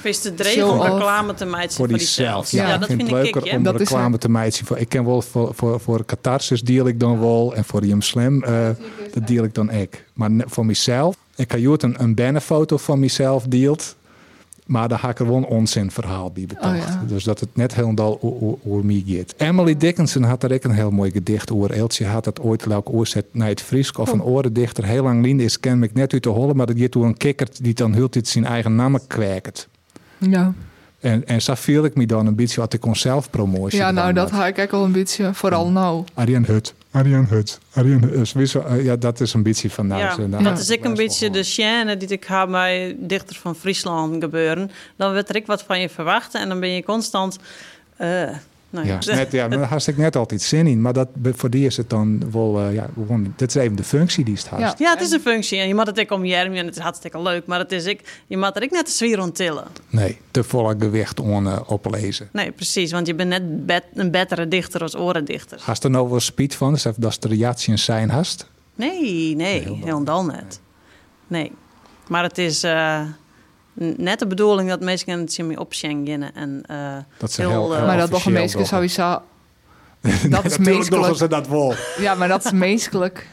Speaker 4: Is de
Speaker 3: Show
Speaker 4: dreiging om
Speaker 3: off.
Speaker 4: reclame te maken
Speaker 2: voor
Speaker 4: voor
Speaker 2: diezelf.
Speaker 4: diezelf.
Speaker 2: Ja,
Speaker 4: Ja,
Speaker 2: ik
Speaker 4: dat
Speaker 2: vind het
Speaker 4: ik,
Speaker 2: leuker
Speaker 4: ik
Speaker 2: om
Speaker 3: Dat is
Speaker 2: reclame te maken. Voor- Ik ken wel voor, voor, voor Catharsis deal ik dan wel. En voor Jim Slam, eh, dat deal ik dan ik. Maar ne- voor mezelf, ik kan Joet een, een bannerfoto van mezelf deelt. Maar daar ga ik er wel een onzinverhaal bij betaald.
Speaker 3: Oh ja.
Speaker 2: Dus dat het net helemaal o- o- over mij gaat. Emily Dickinson had er ook een heel mooi gedicht over. Eltje had dat ooit lauk oorzet naar het Friesk of een orendichter. Heel lang lien is, ken ik net uit de holle. Maar dat je toen een kikkert die dan heel dit zijn eigen namen kwijkert.
Speaker 3: Ja,
Speaker 2: En, en zo viel ik me dan een beetje wat ik kon zelfpromotie.
Speaker 3: ja nou,
Speaker 2: gedaan
Speaker 3: dat
Speaker 2: had.
Speaker 3: haak ik al een beetje. Vooral nou.
Speaker 2: Arjen Hut, Arjen Hut, Arjen Hut. Dus wist- eh, Ja, dat is een beetje van nou.
Speaker 4: ja,
Speaker 2: zo, nou,
Speaker 4: dat is ik een
Speaker 2: best wel
Speaker 4: beetje
Speaker 2: gewoon.
Speaker 4: de scène die ik heb bij dichters van Friesland gebeuren. Dan werd er ik wat van je verwachten en dan ben je constant... eh, nou ja,
Speaker 2: Ja,
Speaker 4: <laughs>
Speaker 2: net, ja, daar had ik net altijd zin in. Maar dat, voor die is het dan wel... eh, ja, gewoon, dat is even de functie die het haast.
Speaker 3: Ja.
Speaker 4: Ja, het is een functie. En je mag het ik om Jermie en het is hartstikke leuk. Maar het is ik, je mag er ik net de sfeer onttillen.
Speaker 2: Nee, te volle gewicht on, eh, oplezen.
Speaker 4: Nee, precies. Want je bent net bet- een betere dichter als orendichter.
Speaker 2: Haast er nou wel speed van? Dus dat is de reactie in zijn haast.
Speaker 4: Nee, nee, helemaal net. Nee. Maar het is eh, n- net de bedoeling dat mensen het zien mee opschenken. En eh,
Speaker 2: Dat ze
Speaker 4: Heel,
Speaker 2: heel,
Speaker 4: eh,
Speaker 2: heel
Speaker 3: maar dat nog een
Speaker 2: officieel
Speaker 3: meisje
Speaker 2: doggen.
Speaker 3: sowieso.
Speaker 2: <laughs> Nee,
Speaker 3: dat
Speaker 2: <laughs>
Speaker 3: is
Speaker 2: natuurlijk doggen
Speaker 3: meestal.
Speaker 2: ze dat wel.
Speaker 3: Ja, maar dat is meestelijk.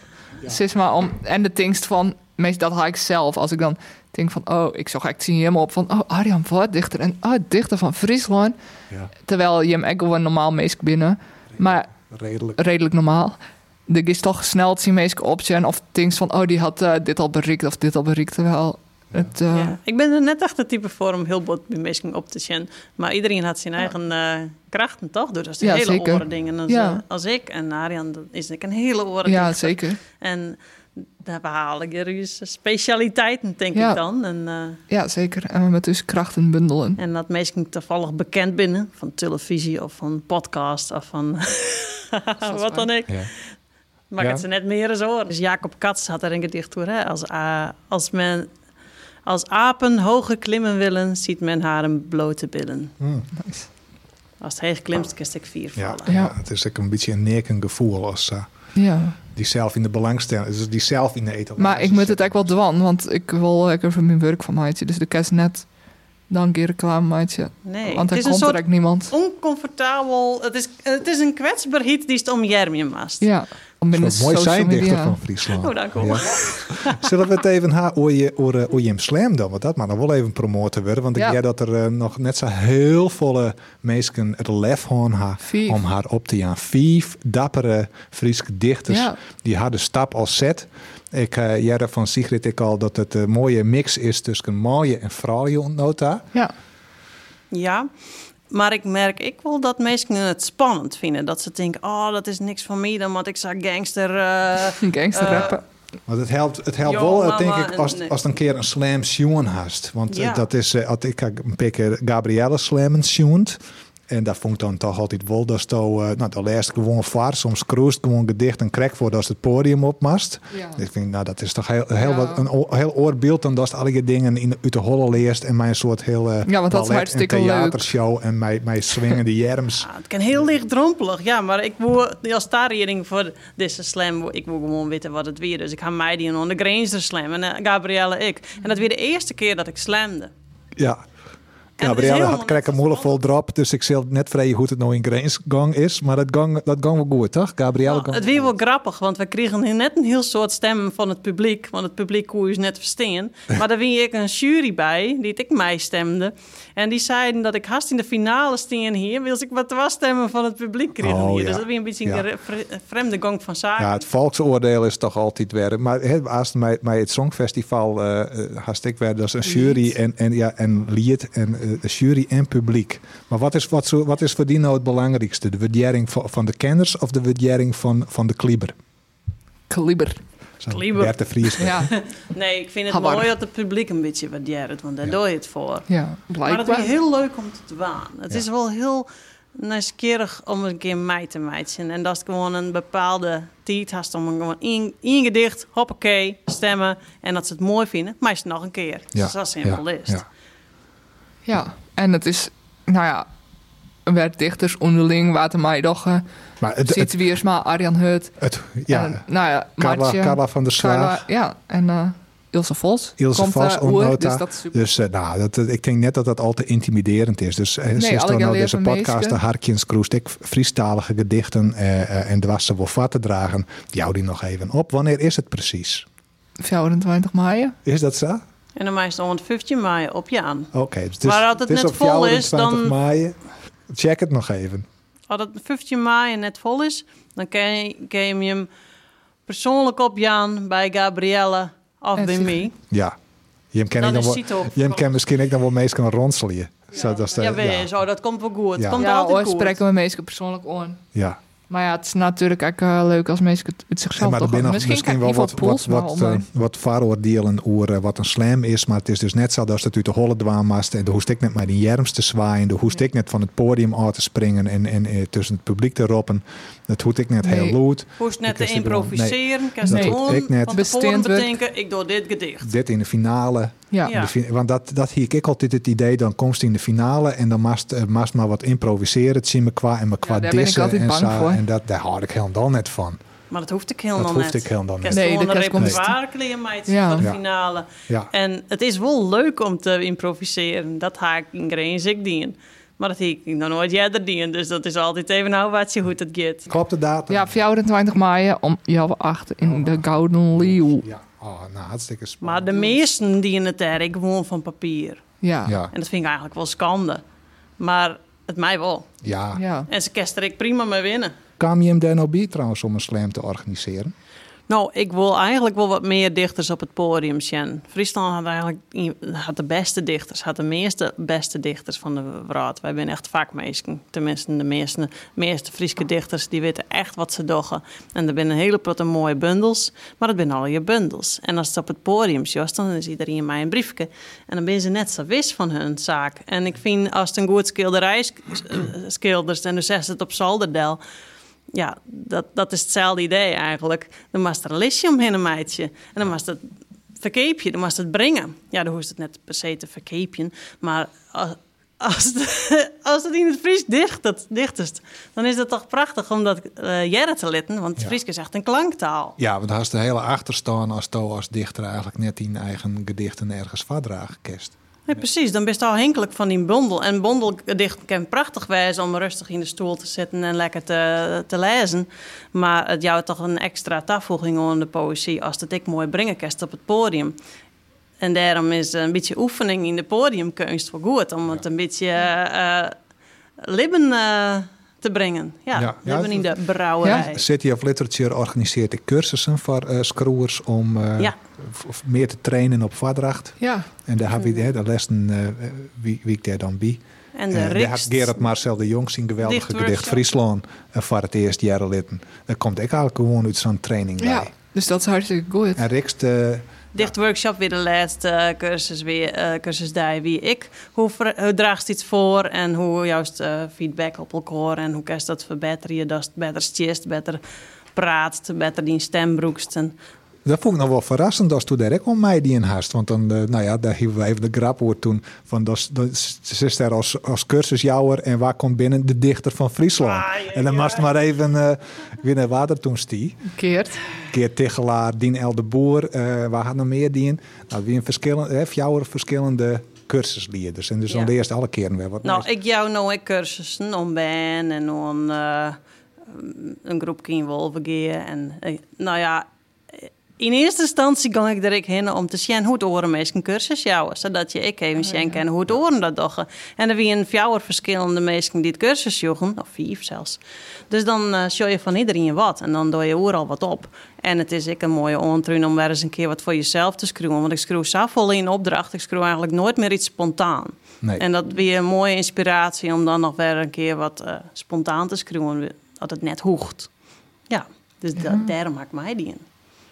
Speaker 3: Zeg maar om, en de dingst van, meest, dat haal ik zelf. Als ik dan denk van, oh, ik zag echt zien helemaal op van, oh, Arjan Voordichter en oh, dichter van Friesland.
Speaker 2: Ja.
Speaker 3: Terwijl je hem echt gewoon normaal meest binnen, maar
Speaker 2: Redelijk.
Speaker 3: redelijk normaal. Er is toch snel zien meest op zijn of dingst van, oh, die had eh, dit al bereikt of dit al bereikt. Terwijl het, eh,
Speaker 4: ja. ik ben er net echt het type voor om heel bot bij mensen op te zien. Maar iedereen had zijn eigen eh, krachten, toch? Dus dat is een
Speaker 3: Ja,
Speaker 4: hele
Speaker 3: zeker.
Speaker 4: oren dingen als,
Speaker 3: Ja.
Speaker 4: eh, als ik. En Arian dat is ik een hele oren
Speaker 3: ja,
Speaker 4: dichter.
Speaker 3: zeker.
Speaker 4: En daar behaal ik er dus specialiteiten, denk
Speaker 3: Ja.
Speaker 4: ik dan. En, eh,
Speaker 3: Ja, zeker. En we met dus krachten bundelen.
Speaker 4: en dat mensen toevallig bekend binnen van televisie of van podcast of van <laughs> wat dan ik.
Speaker 2: Ja.
Speaker 4: Maar
Speaker 2: Ja.
Speaker 4: het zijn net meer eens hoor. Dus Jacob Katz had er een gedicht voor. Hè? Als, a- als, men, als apen hoger klimmen willen, ziet men haar een blote billen.
Speaker 3: Nice.
Speaker 4: Als het heeg klimt, kist ik vier
Speaker 2: Hm. Ja,
Speaker 4: vallen.
Speaker 2: ja. het is ook een beetje een nekend gevoel als... eh,
Speaker 3: Ja.
Speaker 2: die zelf in de belangstelling, dus die zelf in de etalage.
Speaker 3: Maar ik moet het echt wel dwan, want ik wil lekker voor mijn werk van maatje. Dus de kerst net dan een keer reclame maatje.
Speaker 4: Nee,
Speaker 3: want
Speaker 4: het
Speaker 3: er
Speaker 4: is een
Speaker 3: komt
Speaker 4: soort
Speaker 3: er ook niemand.
Speaker 4: oncomfortabel... Het is, het is een kwetsbaarheid die het om Jermie maast.
Speaker 3: Ja, om binnen
Speaker 2: Dat is wel mooi
Speaker 3: social
Speaker 2: zijn dichter
Speaker 3: media.
Speaker 2: van Friesland.
Speaker 4: Oh, dank u.
Speaker 2: Ja. Zullen we het even ha over je, over, eh, over Jim Slam dan? Want dat mag nog wel even promoten worden. Want ik
Speaker 3: Ja.
Speaker 2: denk dat er eh, nog net zo heel volle mensen het lef hebben ha-
Speaker 3: Vief.
Speaker 2: om haar op te gaan. Vijf dappere Friese dichters
Speaker 3: Ja.
Speaker 2: die haar de stap al zet. Ik eh jaren van Sigrid ik al dat het een mooie mix is tussen mooie en vrouwje nota.
Speaker 3: Ja,
Speaker 4: Ja, maar ik merk ik wel dat mensen het spannend vinden. Dat ze denken, oh, dat is niks van mij dan, want ik zag gangster... eh,
Speaker 3: een gangster
Speaker 4: eh,
Speaker 3: rappen.
Speaker 2: Want het helpt, het helpt
Speaker 4: Jo,
Speaker 2: wel, eh,
Speaker 4: mama,
Speaker 2: denk ik,
Speaker 4: en-
Speaker 2: als,
Speaker 4: nee.
Speaker 2: als het een keer een slam tune hast. Want eh,
Speaker 4: Ja.
Speaker 2: dat is, eh, had ik had een paar keer Gabrielle slam tuned. En dat vond ik dan toch altijd wel. Dat is toch, eh, nou, dan leest ik gewoon vaar. Soms cruist gewoon gedicht en krek voor dat ze het podium opmast.
Speaker 3: Ja.
Speaker 2: Ik vind, nou, dat is toch heel, heel,
Speaker 3: Ja.
Speaker 2: wat, een o- heel oorbeeld dan dat ze alle je dingen in, uit de holle leest. En mij een soort heel eh
Speaker 3: Ja, want dat is
Speaker 2: ballet-
Speaker 3: hartstikke
Speaker 2: en
Speaker 3: leuk.
Speaker 2: theatershow. En mij, mij swingende
Speaker 3: <laughs>
Speaker 2: jerms.
Speaker 4: Ah, het kan heel lichtdrompelig, ja, maar ik wil als tariering voor deze slam, ik wil gewoon weten wat het weer. Dus ik ga mij die onder Granger slam en eh, Gabrielle ik. En dat weer de eerste keer dat ik slamde.
Speaker 2: Ja.
Speaker 4: is
Speaker 2: Gabrielle
Speaker 4: helemaal
Speaker 2: had krek een
Speaker 4: niet
Speaker 2: moeilijk vol drop, dus ik zal net vrij hoe het nou in Grains gang is. Maar dat gang, dat gang wel goed, toch? Gabrielle
Speaker 4: Nou,
Speaker 2: gang
Speaker 4: het weer
Speaker 2: wel
Speaker 4: wel grappig, want we kregen hier net een heel soort stemmen van het publiek. Want het publiek kon je dus net
Speaker 2: <laughs>
Speaker 4: verstaan. Maar daar wien ik een jury bij, die het ik mij stemde. En die zeiden dat ik haast in de finale steen hier, wils ik wat was stemmen van het publiek kreeg
Speaker 2: Oh,
Speaker 4: hier.
Speaker 2: ja.
Speaker 4: Dus dat weer een beetje
Speaker 2: Ja.
Speaker 4: een re- vre- vreemde gang van zaken.
Speaker 2: Ja, het volksoordeel is toch altijd weer. Maar hè, als mij, mij het Songfestival eh haast ik weer, dat is een jury en, en, ja, en lied en eh, jury en publiek. Maar wat is, wat, zo, wat is voor die nou het belangrijkste? De waardering van, van de kenners of de waardering van, van de klieber?
Speaker 3: Kaliber.
Speaker 2: Zo,
Speaker 4: Klieber.
Speaker 2: Bert de Vries.
Speaker 3: Ja,
Speaker 4: <laughs> Nee, ik vind het
Speaker 3: Habar.
Speaker 4: mooi dat het publiek een beetje waardeert, want daar
Speaker 2: Ja.
Speaker 4: doe je het voor.
Speaker 3: ja,
Speaker 4: Maar het is
Speaker 3: blijkbaar.
Speaker 4: heel leuk om te waan. Het
Speaker 2: Ja.
Speaker 4: is wel heel nieuwsgierig om een keer mij te meiden. En dat is gewoon een bepaalde tijd. Hast om gewoon in, ingedicht, hoppakee, stemmen. En dat ze het mooi vinden, maar is het nog een keer.
Speaker 2: Ja,
Speaker 4: Dus dat is simpel
Speaker 2: ja,
Speaker 4: is.
Speaker 2: ja.
Speaker 4: het.
Speaker 3: Ja, en het is, nou ja, werd dichters onderling, Water Maaidoche,
Speaker 2: Maar het, het,
Speaker 3: Siet Wiersma, Arjan Hut.
Speaker 2: het- ja,
Speaker 3: en, nou ja,
Speaker 2: Carla,
Speaker 3: Martje,
Speaker 2: Carla van der Slaag.
Speaker 3: Carla, ja, en eh, Ilse Vos.
Speaker 2: Ilse
Speaker 3: komt,
Speaker 2: Vos,
Speaker 3: eh,
Speaker 2: Oer,
Speaker 3: Oer,
Speaker 2: Nota.
Speaker 3: Dus dat is super.
Speaker 2: Dus eh, nou, dat, dat- ik denk net dat dat al te intimiderend is. Dus eh, sinds
Speaker 3: alle
Speaker 2: dan nou
Speaker 3: geleerde
Speaker 2: deze podcast, de
Speaker 3: meisjes.
Speaker 2: Harkins Kroest, ik Friestalige gedichten eh, eh, en dwassen wel vat te dragen, die hou die nog even op. Wanneer is het precies?
Speaker 3: 24 maaien.
Speaker 2: Is dat zo? Oké,
Speaker 4: En dan is het 115 mei op je aan.
Speaker 2: dus het is,
Speaker 4: Maar als het
Speaker 2: het is
Speaker 4: net
Speaker 2: op
Speaker 4: vol
Speaker 2: jou
Speaker 4: is,
Speaker 2: 20
Speaker 4: dan-
Speaker 2: mei. Check het nog even.
Speaker 4: Als het 15 mei net vol is, dan kan je, kan je hem persoonlijk op je aan bij Gabrielle of
Speaker 3: En
Speaker 4: bij
Speaker 3: Sigrid.
Speaker 4: mij.
Speaker 2: Ja. Je ken ik
Speaker 4: Dan
Speaker 2: nog
Speaker 4: is
Speaker 2: wel-
Speaker 4: Cito op
Speaker 2: Jim
Speaker 4: vakantie.
Speaker 2: kan misschien ik dan wel meest kan ronselen. je. Zo, dat is de-
Speaker 4: Ja,
Speaker 2: ja,
Speaker 4: wees. Oh, dat komt wel goed.
Speaker 2: Ja.
Speaker 4: Het komt
Speaker 3: Ja,
Speaker 4: altijd
Speaker 3: ooit
Speaker 4: goed.
Speaker 3: spreken we meestal persoonlijk aan.
Speaker 2: ja.
Speaker 3: Maar ja, het is natuurlijk ook eh, leuk als mensen het uit
Speaker 2: Ja,
Speaker 3: zichzelf
Speaker 2: maar er
Speaker 3: toch
Speaker 2: zijn nog
Speaker 3: doen.
Speaker 2: misschien,
Speaker 3: kan
Speaker 2: wel
Speaker 3: Ivo
Speaker 2: wat, wat,
Speaker 3: Poelsma
Speaker 2: wat,
Speaker 3: online.
Speaker 2: eh, wat vooroordelen over eh, wat een slam is. Maar het is dus net zo dat het uit de holle dwaamast. En de hoest ik net met die jerms te zwaaien. De hoest ik net van het podium af te springen en, en eh, tussen het publiek te roppen. Dat hoed ik net
Speaker 3: Nee.
Speaker 2: heel lood.
Speaker 4: Hoest net te
Speaker 2: Ik wist het wel.
Speaker 4: improviseren, kan
Speaker 2: dat doe ik
Speaker 4: ze
Speaker 2: net.
Speaker 4: gewoon van tevoren
Speaker 3: Besteend werk.
Speaker 4: bedenken, ik doe dit gedicht.
Speaker 2: Dit in de finale.
Speaker 3: Ja.
Speaker 4: Ja.
Speaker 2: De fin- want dat, dat hier ik altijd het idee. Dan komst in de finale en dan mast, eh, mast maar wat improviseren. Het zien me qua en me qua
Speaker 3: daar ben ik
Speaker 2: dissen
Speaker 3: altijd
Speaker 2: en
Speaker 3: bang
Speaker 2: zo.
Speaker 3: voor.
Speaker 2: En dat, daar hou ik helemaal net van.
Speaker 4: Maar dat hoeft ik helemaal
Speaker 2: Dat
Speaker 4: net.
Speaker 2: hoeft ik helemaal
Speaker 4: Ik heb
Speaker 2: net.
Speaker 3: Nee,
Speaker 4: nee,
Speaker 3: de
Speaker 4: gewoon een
Speaker 3: kerstcommissie.
Speaker 4: repertoire kleren, meid,
Speaker 3: Ja.
Speaker 4: voor de
Speaker 2: Ja.
Speaker 4: finale.
Speaker 2: Ja.
Speaker 4: En het is wel leuk om te improviseren. Dat haak ik in Grains ik dien. Maar dat heb ik nog nooit jij dien. Dus dat is altijd even nou wat je hoe het gaat.
Speaker 2: Klopt de datum?
Speaker 3: ja, 24 maaien om jouw 8 in de Gouden Leeuw.
Speaker 2: Ja. Oh, nou, hartstikke
Speaker 4: Maar
Speaker 2: spannend.
Speaker 4: de meesten die in het erg gewoon van papier.
Speaker 3: Ja. Ja.
Speaker 2: Ja,
Speaker 4: En dat vind ik eigenlijk wel schande. Maar het mij wel.
Speaker 2: ja.
Speaker 3: ja.
Speaker 4: En ze kerst er ik prima mee winnen.
Speaker 2: Kwam je hem daar nou bij trouwens om een slam te organiseren?
Speaker 4: Nou, ik wil eigenlijk wel wat meer dichters op het podium zien. Friesland had eigenlijk i- had de beste dichters, had de meeste beste dichters van de raad. Wij zijn echt vakmeesken. Tenminste, de meeste, meeste Friese dichters die weten echt wat ze doggen. En er zijn een hele potte mooie bundels, maar dat zijn al je bundels. En als het op het podium zit, dan is iedereen mij een briefje. En dan ben ze net zo wist van hun zaak. En ik vind als het een goed schilderij sk- eh, schildert en dus zegt het op zolderdel ja, dat, dat is hetzelfde idee eigenlijk. Dan was er een listje omheen een meidje. En dan was dat verkeepje, dan was het brengen. Ja, dan hoeft het net per se te verkeepje. Maar als, als, het, <laughs> als het in het Fries dicht, dat, dicht is, dan is dat toch prachtig om dat eh jaren te litten. Want het
Speaker 2: Ja.
Speaker 4: Fries is echt een klanktaal.
Speaker 2: Ja, want hij is de hele achterstand als Toe als dichter eigenlijk net in eigen gedichten ergens vadragen kerst.
Speaker 4: Nee, precies, dan ben je afhankelijk van die bondel. En bondeldicht kan prachtig wijzen om rustig in de stoel te zitten en lekker te, te lezen. Maar het jouwt toch een extra toevoeging aan de poëzie als dat ik mooi brengen kan op het podium. En daarom is een beetje oefening in de podiumkunst wel goed. Om het een beetje eh, eh, libben eh, te brengen. Ja,
Speaker 2: Ja. Ja,
Speaker 4: libben in de
Speaker 2: dat-
Speaker 4: brouwerij.
Speaker 2: City of Literature organiseert de cursussen voor eh screwers om eh,
Speaker 4: Ja.
Speaker 2: f- f- meer te trainen op vadracht.
Speaker 3: Ja,
Speaker 2: En daar heb ik hè, de lessen eh, wie, wie ik daar dan bij.
Speaker 4: Mhm. En
Speaker 2: Eh,
Speaker 4: de
Speaker 2: daar had
Speaker 4: Rikst.
Speaker 2: Gerard Marcel de Jong zijn geweldige
Speaker 4: Dichtworkshop.
Speaker 2: gedicht Friesland eh, voor het eerst jaren litten. Daar komt ik eigenlijk gewoon uit zo'n training
Speaker 3: ja.
Speaker 2: bij.
Speaker 3: Dus dat is hartstikke goed.
Speaker 2: En Rikst, eh,
Speaker 4: Dicht workshop weer de laatste eh, cursus, weer, eh, cursus die wie ik. Hoe, ver- hoe draagt iets voor en hoe juist eh, feedback op elkaar en hoe kan je dat verbeteren? Je dat beter stist, beter praat, beter die stem broekst. En
Speaker 2: dat vond ik nog wel verrassend als toen daar ik om mij die in haast. Want dan, eh, nou ja, daar hielden we even de grap over toen. Van dat, dat ze is daar als, als cursusjouwer en waar komt binnen de dichter van Friesland. en dan moest maar even eh, weer naar water toen stie.
Speaker 3: Keert.
Speaker 2: Keert Tichelaar, Dien El de Boer, eh waar had nog meer dien? Nou, wie een verschillende, hè, jouw verschillende cursuslieders. En dus
Speaker 4: Ja.
Speaker 2: dan leerst alle keren weer wat.
Speaker 4: nou,
Speaker 2: nieuws.
Speaker 4: ik jou nou ik cursussen om ben en om eh, een groep in Wolvergeer. En eh, nou ja, in eerste instantie ging ik er ik heen om te zien hoe het oren meest een cursus jouwen. Zodat je ik even zien kan hoe het oren dat doggen. En er waren vier verschillende mensen die het cursus joegen, of vijf zelfs. Dus dan eh show je van iedereen wat en dan doe je oer al wat op. En het is ik een mooie ontruin om weer eens een keer wat voor jezelf te schroeven. Want ik schroef zo vol in opdracht, ik schroef eigenlijk nooit meer iets spontaan.
Speaker 2: Nee.
Speaker 4: En dat weer een mooie inspiratie om dan nog weer een keer wat eh, spontaan te schroeven. Dat het net hoegt. Ja, dus dat, daarom maak ik mij die in.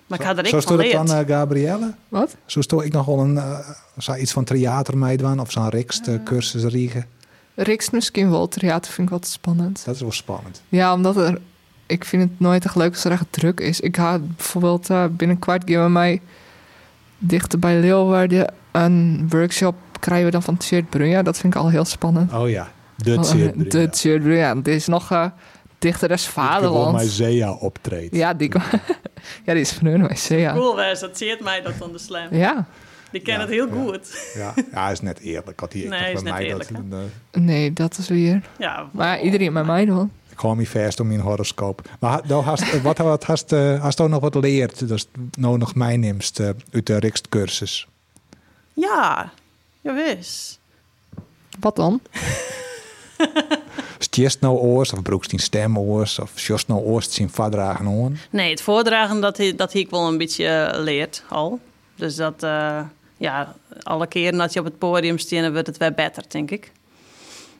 Speaker 4: Maar ik had
Speaker 2: Zo
Speaker 4: er ik van
Speaker 2: stond het
Speaker 4: leerd.
Speaker 2: dan, eh, Gabrielle?
Speaker 3: Wat?
Speaker 2: Zo stond ik nog wel een, eh, zou iets van theater meedoen of zo'n Rikst
Speaker 4: Ah.
Speaker 2: eh, cursus Riegen.
Speaker 3: Riks misschien wel. Theater vind ik wat spannend.
Speaker 2: Dat is wel spannend.
Speaker 3: Ja, omdat er... Ik vind het nooit echt leuk als er echt druk is. Ik ga bijvoorbeeld eh, binnen kwart keer bij mij... Dichter bij Leeuwarden een workshop krijgen we dan van Tjeerd Brunja. Dat vind ik al heel spannend.
Speaker 2: Oh ja, de
Speaker 3: Want, eh, De Tjeerd Brunja. Dit is nog eh dichter des vaderlands.
Speaker 2: Zea optreedt.
Speaker 3: Ja, die, <laughs> ja, die is van hun wc, ja.
Speaker 4: Cool was, dat ziet mij dat dan de slam.
Speaker 3: Ja.
Speaker 4: Die ken
Speaker 2: Ja,
Speaker 4: het heel
Speaker 2: ja.
Speaker 4: goed. <laughs>
Speaker 2: Ja, ja, is net eerlijk. Had hij ik
Speaker 4: Nee,
Speaker 2: dacht bij
Speaker 4: is net
Speaker 2: mij
Speaker 4: eerlijk,
Speaker 2: dat, eh,
Speaker 3: Nee, dat is weer...
Speaker 4: Ja,
Speaker 3: Maar iedereen met mij dan.
Speaker 2: ik hou me vast om mijn horoscoop. Maar ha- nou hast, eh, wat, wat hast, eh, hast ook nog wat leert dat nou nog mij neemst eh, uit de Rikst cursus?
Speaker 4: ja, jawis.
Speaker 3: Wat dan?
Speaker 2: Stjest nou oors, of broekst die stem oors, of sjost nou oors zien vadragen oor.
Speaker 4: Nee, het voordragen, dat, he- dat he ik wel een beetje eh, leert al. Dus dat, eh, ja, alle keren dat je op het podium staat, wordt het weer beter, denk ik.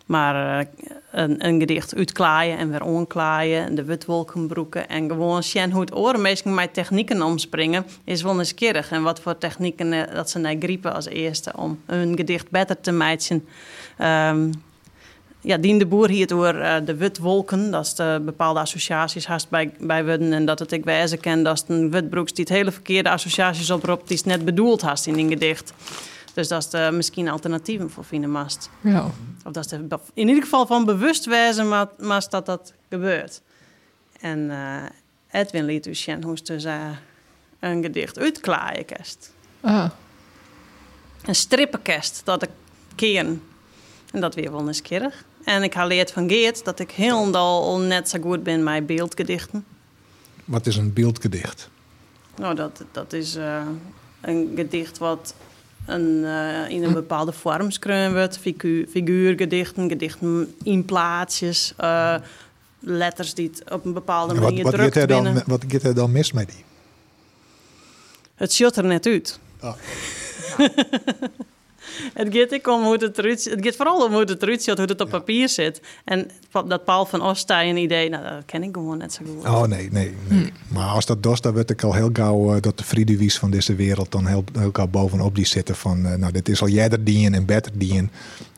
Speaker 4: Maar eh, een, een gedicht uitklaaien en weer onklaaien, en de witwolken broeken en gewoon zien hoe het orenmeesting met technieken omspringen, is wel nieuwsgierig. En wat voor technieken eh, dat ze naar griepen als eerste om hun gedicht beter te meiden. Ehm, ja, Dien de Boer hier door eh, de witwolken, dat is de bepaalde associaties haast bij, bij Wudden. En dat het ik wijzen ken, dat is een witbroeks die het hele verkeerde associaties oproept, die is net bedoeld haast in een gedicht. Dus dat is de, misschien alternatieven voor Fine Mast.
Speaker 3: Ja.
Speaker 4: Of dat is de, in ieder geval van bewust wijzen maar, maar dat dat gebeurt. En eh, Edwin liet u zien hoe ze dus, eh, een gedicht uitklaaien kerst.
Speaker 3: Ah,
Speaker 4: Een strippenkest dat ik ken. En dat weer wel nieuwsgierig. En ik had geleerd van Geert dat ik heel al net zo goed ben met beeldgedichten.
Speaker 2: Wat is een beeldgedicht?
Speaker 4: Nou, dat, dat is eh, een gedicht wat een, eh, in een bepaalde vorm schreeuwen wordt. Figu figuurgedichten, gedichten in plaatsjes, eh, letters die het op een bepaalde
Speaker 2: En wat,
Speaker 4: manier
Speaker 2: wat, gaat
Speaker 4: drukt
Speaker 2: er
Speaker 4: binnen.
Speaker 2: dan, wat gaat er dan mis met die?
Speaker 4: Het ziet er net uit.
Speaker 2: Ah.
Speaker 4: het gaat ik om hoe het eruit Het gaat vooral om hoe het eruit ziet, hoe het op papier zit. En pa- dat Paul van Ostij een idee, nou, dat ken ik gewoon net zo goed.
Speaker 2: Oh nee, nee. nee.
Speaker 3: Hmm.
Speaker 2: Maar als dat dos, dan werd ik al heel gauw eh, dat de friedewies van deze wereld dan heel, heel gauw bovenop die zitten. Van eh, nou, dit is al jijder dien en beter dien.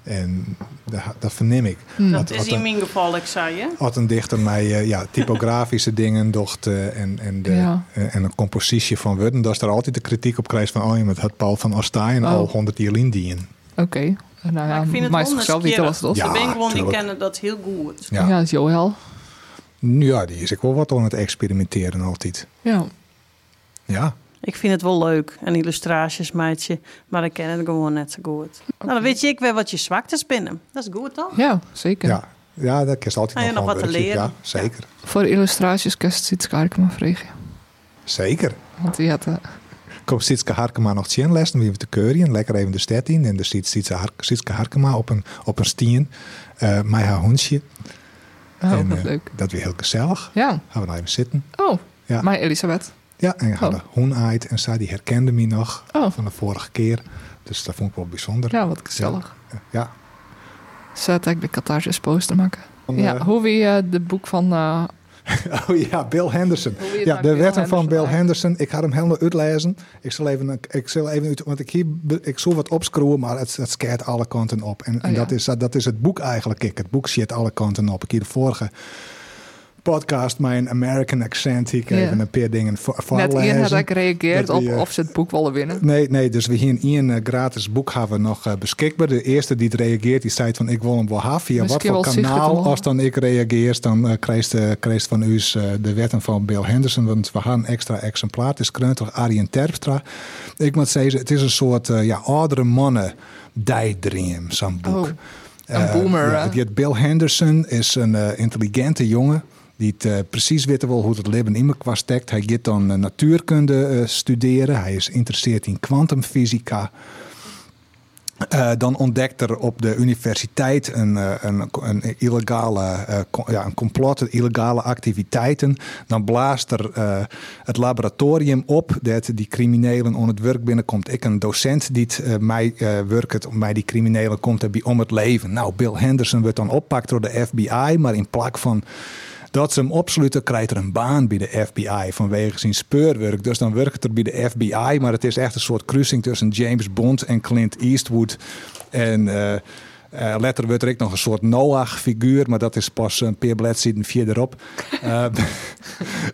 Speaker 2: En dat, dat verneem ik.
Speaker 3: Hmm.
Speaker 2: Wat-
Speaker 4: dat is
Speaker 2: wat
Speaker 4: in
Speaker 2: een-
Speaker 4: mijn geval, ik zei je.
Speaker 2: had een dichter mij eh,
Speaker 4: <laughs>
Speaker 2: ja, typografische dingen docht eh, en, en, de,
Speaker 3: Ja.
Speaker 2: eh, en een compositie van Wurden. Dat is daar altijd de kritiek op krijgt van, oh ja, maar het had Paul van Ostaaien al
Speaker 3: Oh.
Speaker 2: 100 jaar indien.
Speaker 3: oké. Nou
Speaker 4: Maar ik vind
Speaker 3: ja, mij
Speaker 4: het wel
Speaker 3: is zichzelf niet alles los.
Speaker 4: nieuwsgierig.
Speaker 2: Ja,
Speaker 4: Ik ben gewoon, die
Speaker 2: tuurlijk.
Speaker 4: kennen dat heel goed.
Speaker 2: Ja.
Speaker 3: Ja, dat is Joël.
Speaker 2: Nu ja, die is ik wel wat aan het experimenteren altijd.
Speaker 3: Ja.
Speaker 2: Ja,
Speaker 4: Ik vind het wel leuk, een illustraties meidje, maar ik ken het gewoon net zo goed. Nou, dan weet je ik weer wat je zwaktes binnen. Dat is goed, toch?
Speaker 3: Ja, zeker.
Speaker 2: Ja, ja daar kun je altijd
Speaker 4: Ah, ja,
Speaker 2: nog,
Speaker 4: nog
Speaker 2: van
Speaker 4: wat te
Speaker 2: werken. Ja,
Speaker 4: leren.
Speaker 2: zeker.
Speaker 3: Voor illustraties kan je iets Karkema vragen.
Speaker 2: Zeker.
Speaker 3: Want die had... eh, <laughs>
Speaker 2: Komt Sietske Harkema nog zien les, dan wie we te keurien. Lekker even de stad in. En daar zit Sietske Har- Sietske Harkema op een, op een stien. eh met haar hondje.
Speaker 3: oh,
Speaker 2: en,
Speaker 3: wat
Speaker 2: eh,
Speaker 3: leuk.
Speaker 2: Dat weer heel gezellig.
Speaker 3: Ja.
Speaker 2: Gaan we nou even zitten.
Speaker 3: Oh,
Speaker 2: Ja.
Speaker 3: maar Elisabeth.
Speaker 2: Ja, en gaan
Speaker 3: Oh.
Speaker 2: de hoen uit. En zij die herkende me nog
Speaker 3: Oh.
Speaker 2: van de vorige keer. Dus dat vond ik wel bijzonder.
Speaker 3: Ja, wat gezellig.
Speaker 2: Ja.
Speaker 3: Zet ik de catharsis poster maken.
Speaker 2: Van,
Speaker 3: ja,
Speaker 2: eh,
Speaker 3: hoe wie eh de boek van... eh,
Speaker 2: <laughs> Oh ja, Bill Henderson.
Speaker 3: Hoe je het
Speaker 2: Ja,
Speaker 3: aan
Speaker 2: de
Speaker 3: Bill
Speaker 2: wetten van Bill
Speaker 3: Henderson
Speaker 2: Henderson. Ik ga hem helemaal uitlezen. Ik zal even, ik zal even uit, want ik, hier, ik zal wat opscrewen, maar het, het scaart alle kanten op. En, en
Speaker 3: Oh ja.
Speaker 2: dat, is, dat is het boek eigenlijk. Ik. Het boek shit alle kanten op. Ik hier de vorige podcast, mijn American accent, hier ik
Speaker 3: Ja.
Speaker 2: even een paar dingen voor,
Speaker 3: net
Speaker 2: voorlezen.
Speaker 3: hier had ik gereageerd
Speaker 2: Dat
Speaker 3: op
Speaker 2: die, eh,
Speaker 3: of ze het boek willen winnen.
Speaker 2: Nee, nee, dus we hier een eh, gratis boek hebben we nog eh, beschikbaar. De eerste die het reageert, die zei van ik wil hem wel hebben. Via wat
Speaker 3: Misschien
Speaker 2: voor
Speaker 3: wel zichtbaar te
Speaker 2: kanaal,
Speaker 3: maken.
Speaker 2: als dan ik reageer, dan eh krijgt eh, krijgt van u eh, de wetten van Bill Henderson. Want we gaan een extra exemplaar. Het is kreund door Arjen Terpstra. Ik moet zeggen, het is een soort eh, ja, oudere mannen daydream, zo'n boek.
Speaker 3: Oh, een
Speaker 2: Eh,
Speaker 3: boomer,
Speaker 2: ja,
Speaker 3: hè?
Speaker 2: die het Bill Henderson is een eh, intelligente jongen. Die het, eh, precies weet wel hoe het leven in elkaar steekt. Hij gaat dan eh, natuurkunde eh, studeren. Hij is geïnteresseerd in kwantumfysica. Eh, dan ontdekt er op de universiteit een, eh, een, een illegale eh, co- ja, een complot, illegale activiteiten. Dan blaast er eh, het laboratorium op dat die criminelen aan het werk binnenkomt. Ik een docent die het, eh, mij eh werkt, om mij die criminelen komt erbij om het leven. Nou, Bill Henderson wordt dan oppakt door de FBI, maar in plak van dat ze hem opsluiten, krijgt er een baan bij de FBI vanwege zijn speurwerk. Dus dan werkt het er bij de FBI, maar het is echt een soort kruising tussen James Bond en Clint Eastwood. En eh eh, later wordt er ook nog een soort Noach-figuur, maar dat is pas eh, een paar bladzijden verderop. Eh, <laughs>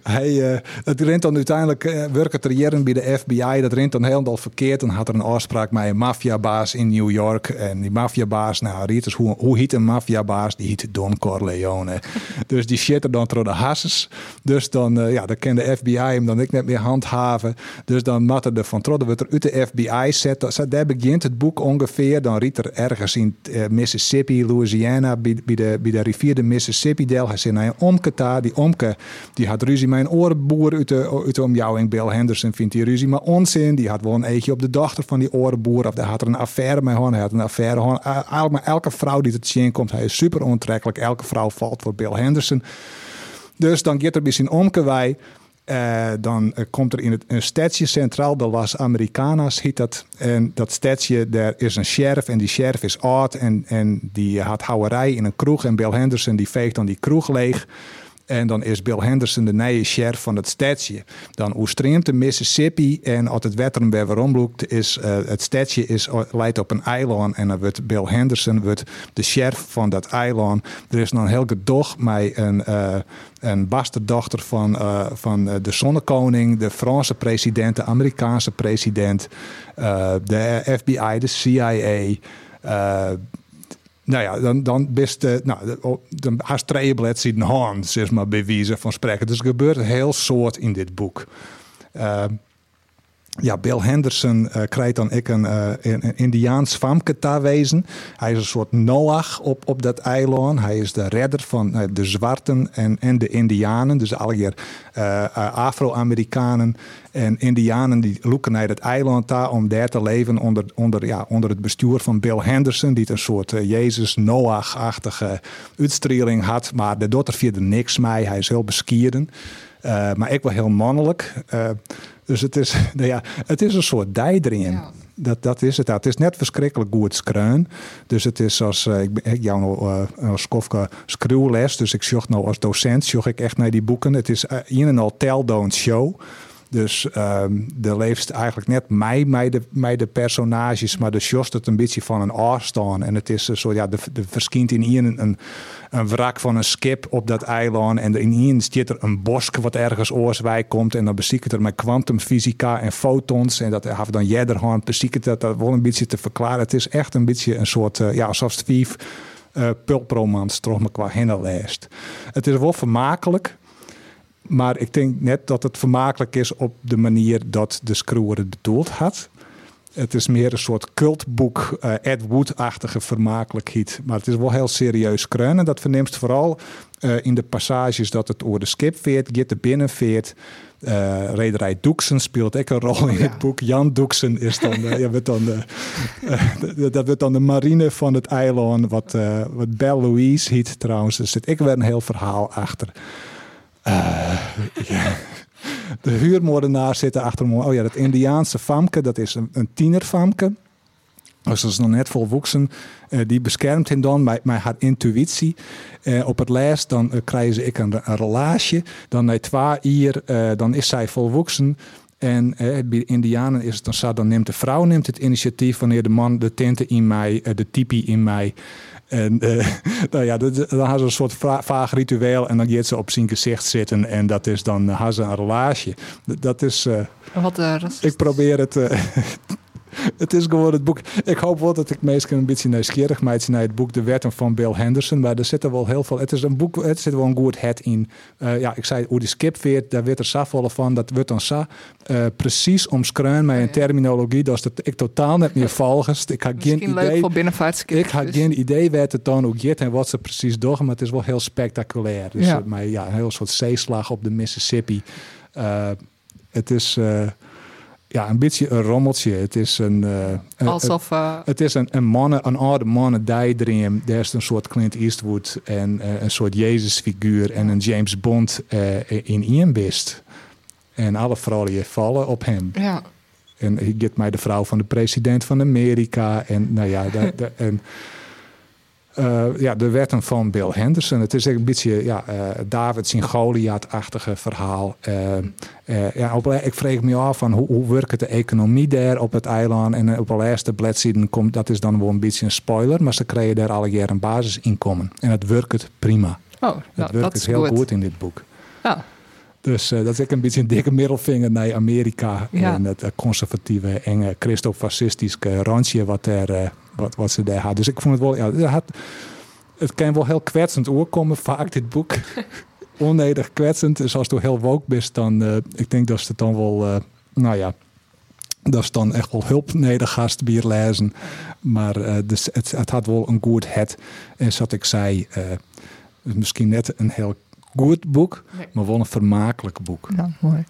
Speaker 2: hij, eh, het rent dan uiteindelijk, eh, werkt het er jaren bij de FBI, dat rent dan helemaal verkeerd. Dan had er een afspraak met een maffiabaas in New York. En die maffiabaas, nou, Rieters, hoe, hoe heet een maffiabaas? Die heet Don Corleone. dus die shit er dan door de hasses. Dus dan, eh, ja, dan kan de FBI hem dan ik net meer handhaven. Dus dan matte de van Trodde wordt er uit de FBI zet. zet- Daar begint het boek ongeveer. Dan riet er ergens in eh, Mississippi, Louisiana, bij bij de, bij de rivier de Mississippi del. Hij zit naar een omke daar. Die omke die had ruzie met een orenboer uit de, uit de omjouwing. Bill Henderson vindt die ruzie maar onzin. Die had wel een eetje op de dochter van die orenboer. Of daar had er een affaire mee gehad. Hij had een affaire gehad. Eh, al- Maar elke vrouw die te zien komt, hij is super aantrekkelijk. Elke vrouw valt voor Bill Henderson. Dus dan gaat er bij zijn omke wij. Eh, dan eh, komt er in het, een stadje centraal, de Las Americanas heet dat. En dat stadje, daar is een sheriff en die sheriff is oud. En, en die had houwerij in een kroeg en Bill Henderson die veegt dan die kroeg leeg. En dan is Bill Henderson de nieuwe sheriff van het stadje. Dan oestreemt de Mississippi en als het wetter hem weer omloekt, is eh, het stadje is, leidt op een eiland. En dan wordt Bill Henderson wordt de sheriff van dat eiland. Er is nog een heel gedoog met een, eh een basterdochter van, eh, van eh, de zonnekoning, de Franse president, de Amerikaanse president, eh, de FBI, de CIA. eh, nou ja, dan, dan best, eh, nou, de- oh, dan haast twee bladzijden hand, zeg maar, bij wijze van spreken. Dus er gebeurt een heel soort in dit boek. Eh, ja, Bill Henderson eh, krijgt dan ik een, eh, een, een Indiaans famke daar wezen. Hij is een soort Noach op, op dat eiland. Hij is de redder van eh, de zwarten en, en de indianen. Dus al hier eh, eh, Afro-Amerikanen en indianen die loeken naar dat eiland daar om daar te leven onder, onder, ja, onder het bestuur van Bill Henderson. Die het een soort eh, Jezus Noach-achtige uitstraling had. Maar de dotter vierde niks mee. Hij is heel beskieren. Eh, maar ik wel heel mannelijk. Eh, dus het is, <laughs> nou ja, het is een soort dijdream.
Speaker 3: Ja.
Speaker 2: Dat, dat is het. Het is net verschrikkelijk goed skreun. Dus het is als eh, ik, ben- ik jou nou, eh, als Kofka screwles. Dus ik zocht nou als docent zocht ik echt naar die boeken. Het is eh, in en al tell don't show. Dus ehm er leeft eigenlijk net mij, mij de, mij de personages, maar de sjost het een beetje van een afstand. En het is een soort, ja, de, de verschijnt in hier een, een, een wrak van een skip op dat eiland. En er in hier zit er een bosk wat ergens oorswijk komt. En dan beziekert er met kwantumfysica en fotons. En dat hebben dan Jedderhorn beziekert dat, dat wel een beetje te verklaren. Het is echt een beetje een soort, eh, ja, alsof het vief eh pulpromans, toch maar qua hinnenlijst. Het is wel vermakelijk. Maar ik denk net dat het vermakelijk is op de manier dat de schroewer het bedoeld had. Het is meer een soort cultboek, eh, Ed Wood-achtige vermakelijkheid. Maar het is wel heel serieus kreunen. Dat verneemt vooral eh, in de passages dat het over de skip veert, Gitte binnenveert. Eh Rederij Doeksen speelt ook een rol in het boek. Jan Doeksen is dan, de, ja, wordt dan de, eh, <laughs> dat wordt dan de marine van het eiland. Wat, eh wat Belle Louise heet trouwens. Er zit ik weer een heel verhaal achter. Eh, <laughs> ja. De huurmoordenaar zitten achter me. Oh ja, dat Indiaanse famke, dat is een, een tienerfamke. Dus dat is nog net vol woeksen. Eh, die beschermt hem dan met, met haar intuïtie. Eh, op het lijst dan eh, krijgen ze ik een, een relaasje. Dan na twee hier, eh, dan is zij vol woeksen. En eh, bij de Indianen is het dan zo, dan neemt de vrouw neemt het initiatief wanneer de man de tenten in mij, eh, de tipi in mij. En eh, nou ja, dat, dan hadden ze een soort vra- vaag ritueel en dan gaat ze op zijn gezicht zitten en dat is dan eh, hadden ze een relaasje. D- dat is, eh,
Speaker 3: Wat eh, racist.
Speaker 2: ik probeer het. eh, <laughs> het is gewoon het boek. Ik hoop wel dat ik meestal een beetje nieuwsgierig maak naar het boek De Wetten van Bill Henderson. Maar er zitten wel heel veel. Het is een boek, het zit wel een goed het in. Eh, ja, ik zei hoe die skip veert, daar werd er safvolle van. Dat wordt dan sa eh, precies omschreven
Speaker 3: Oh
Speaker 2: met een terminologie. Dat is dat ik totaal net meer volgens. Ik had geen
Speaker 3: Misschien leuk
Speaker 2: idee.
Speaker 3: voor binnenvaartskindjes.
Speaker 2: Ik had geen eh, idee waar het dan ook zit en wat ze precies doen, maar het is wel heel spectaculair. Dus
Speaker 3: Ja.
Speaker 2: ja. Maar ja, een heel soort zeeslag op de Mississippi. Eh, het is eh, ja, een beetje een rommeltje. Het is een, eh, een-
Speaker 3: Alsof... eh,
Speaker 2: het is een, een, mannen, een oude mannen daydream. Daar is een soort Clint Eastwood en eh, een soort Jezus-figuur en een James Bond eh, in Ian Bist. En alle vrouwen vallen op hem.
Speaker 3: ja,
Speaker 2: En hij get mij de vrouw van de president van Amerika. En nou ja,
Speaker 3: <laughs>
Speaker 2: da- da- en, eh, ja de wetten van Bill Henderson. Het is echt een beetje ja, eh, David en Goliath-achtige verhaal. Eh, eh, ja, op, ik vreeg me af van hoe, hoe werkt de economie daar op het eiland. En eh, op de laatste bladzijde komt, dat is dan wel een beetje een spoiler. Maar ze krijgen daar alle jaar een basisinkomen. En het werkt prima.
Speaker 3: oh,
Speaker 2: Het
Speaker 3: nou, dat
Speaker 2: werkt
Speaker 3: is
Speaker 2: heel
Speaker 3: goed.
Speaker 2: goed. in dit boek.
Speaker 3: Ja,
Speaker 2: Dus eh, dat is ook een beetje een dikke middelvinger naar Amerika.
Speaker 3: Ja.
Speaker 2: En het eh, conservatieve, enge, christofascistische randje wat, er, eh, wat, wat ze daar had. Dus ik vond het wel... Ja, het, had, het kan wel heel kwetsend oorkomen, vaak dit boek. Onnedig kwetsend. Dus als je heel woke bent, dan... eh, ik denk dat ze het dan wel... eh, nou ja, dat is dan echt wel hulp nedergast bier lezen. Maar eh, dus het, het had wel een goed het. En zoals ik zei, eh, misschien net een heel goed boek...
Speaker 3: Nee.
Speaker 2: maar wel een vermakelijk boek.
Speaker 3: nou, mooi.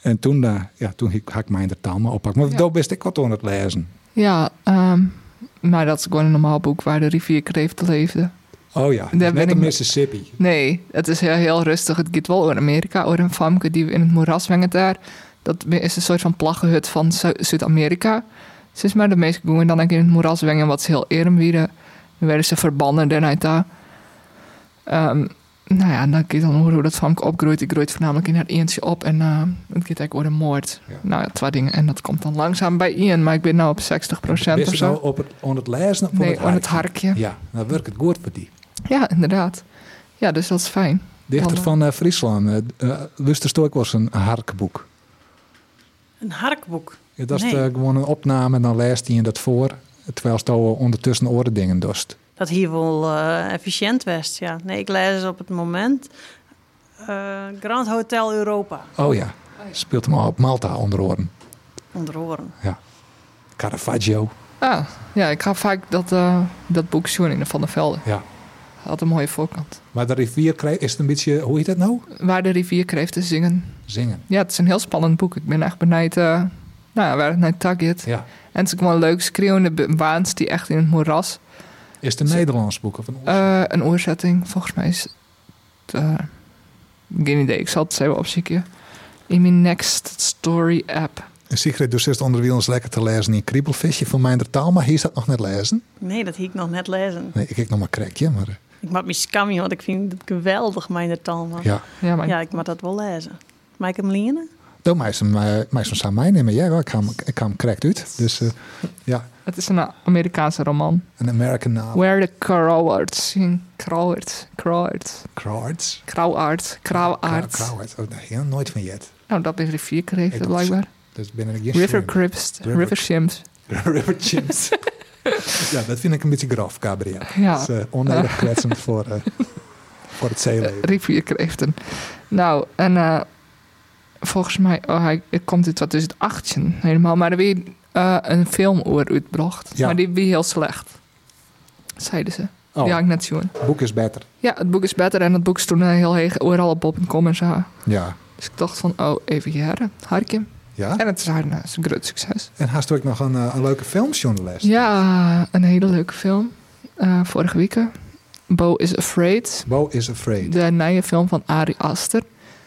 Speaker 2: En toen, eh, ja, toen hik- had ik mijn de taal maar oppakken. Maar
Speaker 3: Ja.
Speaker 2: daar best ik wat aan het lezen.
Speaker 3: Ja, ehm, maar dat is gewoon een normaal boek waar de rivierkreeft leefde.
Speaker 2: Oh ja,
Speaker 3: ben
Speaker 2: net
Speaker 3: ik
Speaker 2: de
Speaker 3: me-
Speaker 2: Mississippi.
Speaker 3: Nee, het is heel, heel rustig. Het gaat wel over Amerika, over een famke die in het moeras wengt daar. Dat is een soort van plaggenhut van Zu- Zuid-Amerika. Ze is maar de meest gewoon dan ook in het moeras wengen, wat ze heel eerm wieren. Dan werden ze verbannen daaruit daar. Ehm, nou ja, dan gaat dan horen hoe dat famke opgroeit. Die groeit voornamelijk in haar eentje op en eh, het gaat eigenlijk over een moord.
Speaker 2: Ja.
Speaker 3: Nou ja, twee dingen. En dat komt dan langzaam bij Ian, maar ik ben nu op 60% of zo.
Speaker 2: Best zo op het, aan nou het lezen of
Speaker 3: Nee, aan het
Speaker 2: harken?
Speaker 3: harkje.
Speaker 2: Ja, dan werkt het goed voor die.
Speaker 3: Ja, inderdaad. Ja, dus dat is fijn.
Speaker 2: Dichter
Speaker 3: Hallo.
Speaker 2: van eh, Friesland, eh eh, Luster Stoik was een harkboek.
Speaker 4: Een harkboek.
Speaker 2: Ja, dat is
Speaker 4: Nee.
Speaker 2: eh, gewoon een opname en dan leest hij in dat voor. Terwijl je ondertussen oren dingen dost.
Speaker 4: Dat hier wel eh, efficiënt was, ja. Nee, ik lees op het moment eh, Grand Hotel Europa
Speaker 2: Oh ja, speelt hem al op Malta onder oren.
Speaker 4: onder oren.
Speaker 2: Caravaggio.
Speaker 3: Ah, ja, ik ga vaak dat, eh, dat boek zien in de Van der Velde.
Speaker 2: Ja.
Speaker 3: Had een mooie voorkant.
Speaker 2: Maar de rivier krijgt, is het een beetje, hoe heet dat nou?
Speaker 3: Waar de rivier kreeg te zingen.
Speaker 2: Zingen.
Speaker 3: Ja, het is een heel spannend boek. Ik ben echt benijd eh, nou, ja, waar het naar target.
Speaker 2: Ja.
Speaker 3: En het is ook wel een leuk schreeuwende be- waans die echt in het moeras.
Speaker 2: Is het een Nederlands boek of een
Speaker 3: Eh, een oorzetting, volgens mij is het... eh, geen idee, ik zal het eens even opzoeken. In mijn Next Story app.
Speaker 2: Een Sigrid Docist onder wiel is lekker te lezen in Kriebelvisje van mijn taal, maar hier is dat nog net lezen.
Speaker 4: Nee, dat hier ik nog net lezen.
Speaker 2: Nee, ik kijk nog maar krekje, maar eh,
Speaker 4: Ik maak me scammy, want ik vind het geweldig, mijn taal. man.
Speaker 2: ja.
Speaker 3: Ja, maar
Speaker 4: Ja, ik mag dat wel lezen. Maak ik hem lenen?
Speaker 2: Dan mij is hem, eh, mij is hem aan mij nemen. Ja, wel, ik ga hem, ik ga hem correct uit. Dus eh, ja,
Speaker 3: het is een Amerikaanse roman.
Speaker 2: een American naam.
Speaker 3: Where the Crowards sing. Crowards, Crowards,
Speaker 2: Crowds.
Speaker 3: Crowards, Crowards.
Speaker 2: Crowds. Oh, nee, ja, nooit van jet.
Speaker 3: Nou, dat is rivierkreeft
Speaker 2: Ik-
Speaker 3: blijkbaar.
Speaker 2: Dus ben ik
Speaker 3: River Crips,
Speaker 2: River-
Speaker 3: River Shims.
Speaker 2: <laughs> River
Speaker 3: <laughs>
Speaker 2: Chimps. ja, dat vind ik een beetje grof, Gabriel.
Speaker 3: Ja, <laughs>
Speaker 2: Dat is eh, oneerlijk kwetsend voor... eh, voor het zeeleven.
Speaker 3: rivierkreeften. Nou, en eh, volgens mij oh, hij, het komt uit 2018 helemaal. Maar er weer eh, een film over uitbracht.
Speaker 2: Ja.
Speaker 3: Maar die was heel slecht. Zeiden ze.
Speaker 2: Oh,
Speaker 3: Die had ik net zien.
Speaker 2: het boek is beter.
Speaker 3: Ja, het boek is beter. En het boek is toen eh, heel heeg overal op bol.com en zo.
Speaker 2: Ja.
Speaker 3: Dus ik dacht van, oh, even jaren. Harkje.
Speaker 2: Ja?
Speaker 3: En het is haar, nou, het is een groot succes.
Speaker 2: En haast ook nog een, eh, een leuke filmjournalist.
Speaker 3: Ja, een hele leuke film. Eh, vorige week. Bo is Afraid.
Speaker 2: Bo is Afraid.
Speaker 3: De nieuwe film van Ari Aster.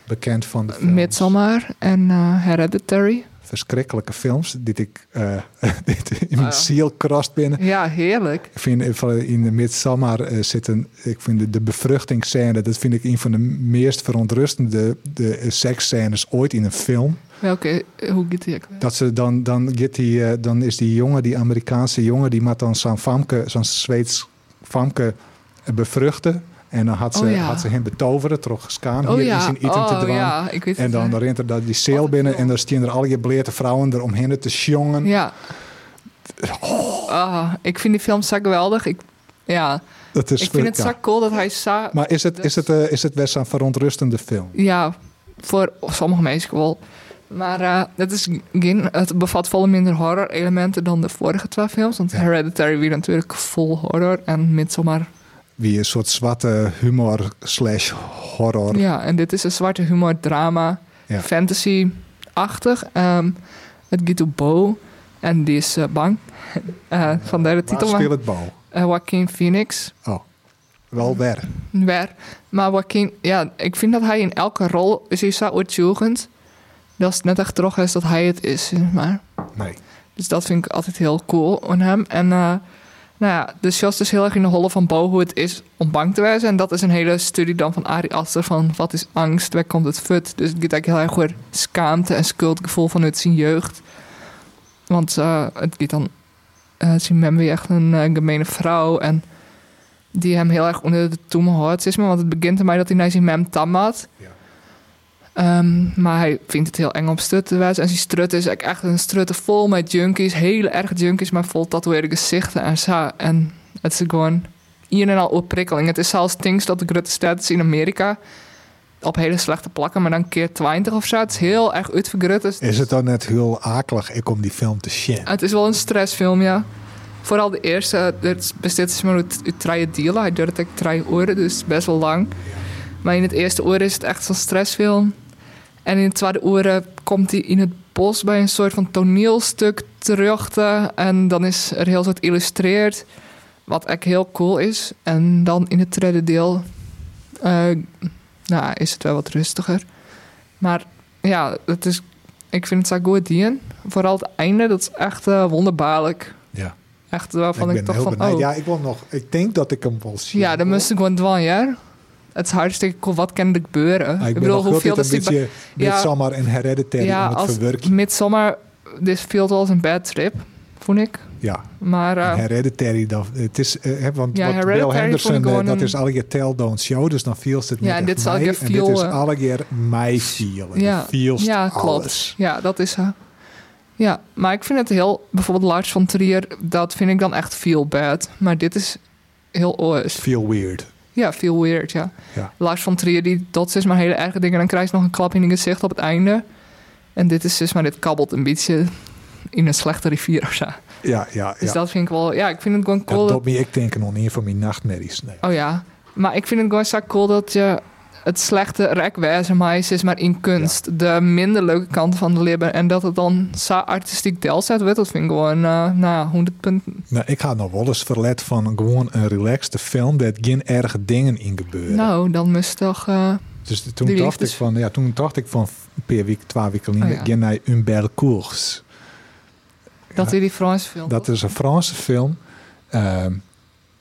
Speaker 2: Bekend van de films.
Speaker 3: Midsommar en eh,
Speaker 2: <laughs>
Speaker 3: Hereditary.
Speaker 2: Verschrikkelijke films. Die ik eh, <laughs> dit in
Speaker 3: Ah,
Speaker 2: mijn
Speaker 3: ja.
Speaker 2: ziel krast binnen.
Speaker 3: Ja, heerlijk.
Speaker 2: Ik vind eh, van- in de Midsommar eh, zit een... Ik vind de, de bevruchtingsscène... Dat vind ik een van de meest verontrustende de, eh, seksscènes ooit in een film.
Speaker 3: Welke, hoe gaat die? ook weer?
Speaker 2: Dat ze dan, dan, gaat die, eh, dan is die jongen, die Amerikaanse jongen, die maakt dan zo'n famke, zo'n Zweeds famke eh, bevruchten. En dan had ze,
Speaker 3: Oh ja.
Speaker 2: had ze hem betoveren, toch schaam
Speaker 3: Oh
Speaker 2: hier
Speaker 3: ja,
Speaker 2: is een item te
Speaker 3: oh
Speaker 2: dwaan.
Speaker 3: ja, ik weet
Speaker 2: En
Speaker 3: het.
Speaker 2: dan
Speaker 3: ja.
Speaker 2: rent er dat die sale
Speaker 3: Wat een
Speaker 2: binnen en
Speaker 3: film.
Speaker 2: dan staan er al je bleerte vrouwen er omheen te sjongen.
Speaker 3: Ja.
Speaker 2: Oh.
Speaker 3: Ah, ik vind die film zo geweldig. Ik, ja,
Speaker 2: Dat is
Speaker 3: ik vind het Dus-
Speaker 2: ja.
Speaker 3: zo cool dat hij zo...
Speaker 2: Maar is het,
Speaker 3: dat-
Speaker 2: is, het, eh, is het best een verontrustende film?
Speaker 3: Ja, voor sommige mensen wel. Maar eh, het, is geen, het bevat veel minder horror-elementen dan de vorige twee films. Want
Speaker 2: Ja.
Speaker 3: Hereditary weer natuurlijk vol horror en Midsommar.
Speaker 2: Wie een soort zwarte humor slash horror.
Speaker 3: Ja, en dit is een zwarte humor, drama,
Speaker 2: Ja.
Speaker 3: fantasy-achtig. Ehm, het gaat om Bo en die is eh, bang. <laughs> Eh vandaar de
Speaker 2: Waar
Speaker 3: titel. maar-
Speaker 2: speelt het bal?
Speaker 3: eh, Joaquin Phoenix.
Speaker 2: Oh, wel weer.
Speaker 3: Waar. Maar Joaquin, ja, ik vind dat hij in elke rol is hij zo uitzoekend. Dat het net echt terug is dat hij het is, zeg maar.
Speaker 2: Nee.
Speaker 3: Dus dat vind ik altijd heel cool aan hem. En eh, nou ja, de shots is heel erg in de holle van Bo hoe het is om bang te wezen. En dat is een hele studie dan van Ari Aster van wat is angst, waar komt het fut. Dus het gaat eigenlijk heel erg over schaamte en schuldgevoel vanuit zijn jeugd. Want eh, het gaat dan, eh zijn mem weer echt een eh, gemene vrouw en die hem heel erg onder de toemen houdt, zeg maar. Want het begint ermee dat hij naar zijn mem tammat.
Speaker 2: Ja.
Speaker 3: Ehm, maar hij vindt het heel eng om strut te wijzen. En die strut is ook echt een strutte vol met junkies. Hele erg junkies, maar vol tatoeëerde gezichten en zo. En het is gewoon hier en al opprikkeling. Het is zelfs things dat de grote status in Amerika op hele slechte plakken, maar dan keer 20 of zo. Het is heel erg uitvergrut. Dus
Speaker 2: Is het dan net heel akelig? Ik kom die film te shit.
Speaker 3: het is wel een stressfilm, ja. Vooral de eerste, het besteedt zich maar uit, uit drie delen. Hij duurt ook drie uren, dus het is best wel lang. Maar in het eerste uur is het echt zo'n stressfilm. En in het tweede uur eh, komt hij in het bos bij een soort van toneelstuk terug. te- en dan is er heel soort illustreerd, wat echt heel cool is. En dan in het derde deel eh, nou, is het wel wat rustiger. Maar ja, het is, ik vind het zo goed dien. Vooral het einde, dat is echt eh, wonderbaarlijk.
Speaker 2: Ja.
Speaker 3: Echt waarvan ik,
Speaker 2: ben
Speaker 3: toch
Speaker 2: heel
Speaker 3: van,
Speaker 2: benieuwd.
Speaker 3: oh,
Speaker 2: Ja,
Speaker 3: ja,
Speaker 2: ik wil nog. Ik denk dat ik hem wel zie.
Speaker 3: dan moest ik gewoon dwan, ja. Het is hartstikke cool, wat kan er gebeuren?
Speaker 2: Maar Ah, ik, ben nog altijd
Speaker 3: dat
Speaker 2: een beetje
Speaker 3: Ja.
Speaker 2: Midsommar en Hereditary
Speaker 3: ja,
Speaker 2: aan het
Speaker 3: als
Speaker 2: verwerken.
Speaker 3: midzomer, dit viel wel als een bad trip, vond ik.
Speaker 2: Ja,
Speaker 3: Maar
Speaker 2: en
Speaker 3: eh,
Speaker 2: Hereditary. Dan, het is, eh, hè, want
Speaker 3: Ja,
Speaker 2: wat Bill
Speaker 3: Hereditary
Speaker 2: Henderson,
Speaker 3: vond ik
Speaker 2: eh,
Speaker 3: gewoon
Speaker 2: dat
Speaker 3: een-
Speaker 2: is alle keer tell, don't show. Dus dan feels het
Speaker 3: Ja,
Speaker 2: niet
Speaker 3: en
Speaker 2: echt
Speaker 3: dit is alle
Speaker 2: mij.
Speaker 3: keer
Speaker 2: En dit is
Speaker 3: feel, eh,
Speaker 2: alle keer mij feelen.
Speaker 3: Ja.
Speaker 2: Je feelst
Speaker 3: ja, klopt.
Speaker 2: alles.
Speaker 3: Ja, dat is haar. Ja, maar ik vind het heel... Bijvoorbeeld Lars van Trier, dat vind ik dan echt feel bad. Maar dit is heel oors.
Speaker 2: Feel weird.
Speaker 3: Ja, feel weird, ja.
Speaker 2: Ja.
Speaker 3: Lars van Trier, die dat is maar hele erge dingen. Dan krijg je nog een klap in je gezicht op het einde. En dit is dus maar dit kabbelt een beetje in een slechte rivier of zo.
Speaker 2: Ja, ja,
Speaker 3: Dus
Speaker 2: ja.
Speaker 3: dat vind ik wel... Ja, ik vind het gewoon
Speaker 2: Ja,
Speaker 3: cool. dat-
Speaker 2: Dobby, ik denk nog niet van mijn nachtmerries. Nee.
Speaker 3: Oh ja, maar ik vind het gewoon zo cool dat je het slechte rekwijzer meis is, maar in kunst. De minder leuke kant van de libben. En dat het dan zo artistiek deelzet wordt, dat vind ik gewoon, eh, nou, 100 punten.
Speaker 2: Nou, ik had nog wel eens verlet van gewoon een relaxte film... dat geen erge dingen in gebeuren.
Speaker 3: Nou, dan moest toch. eh,
Speaker 2: Dus toen
Speaker 3: Die
Speaker 2: dacht, ik
Speaker 3: liefdes-
Speaker 2: van, ja, toen dacht ik van per week, twee weken geleden,
Speaker 3: Oh ja.
Speaker 2: ga naar Humbert Koers.
Speaker 3: dat weer die Franse film.
Speaker 2: Dat is een Franse film. Ehm,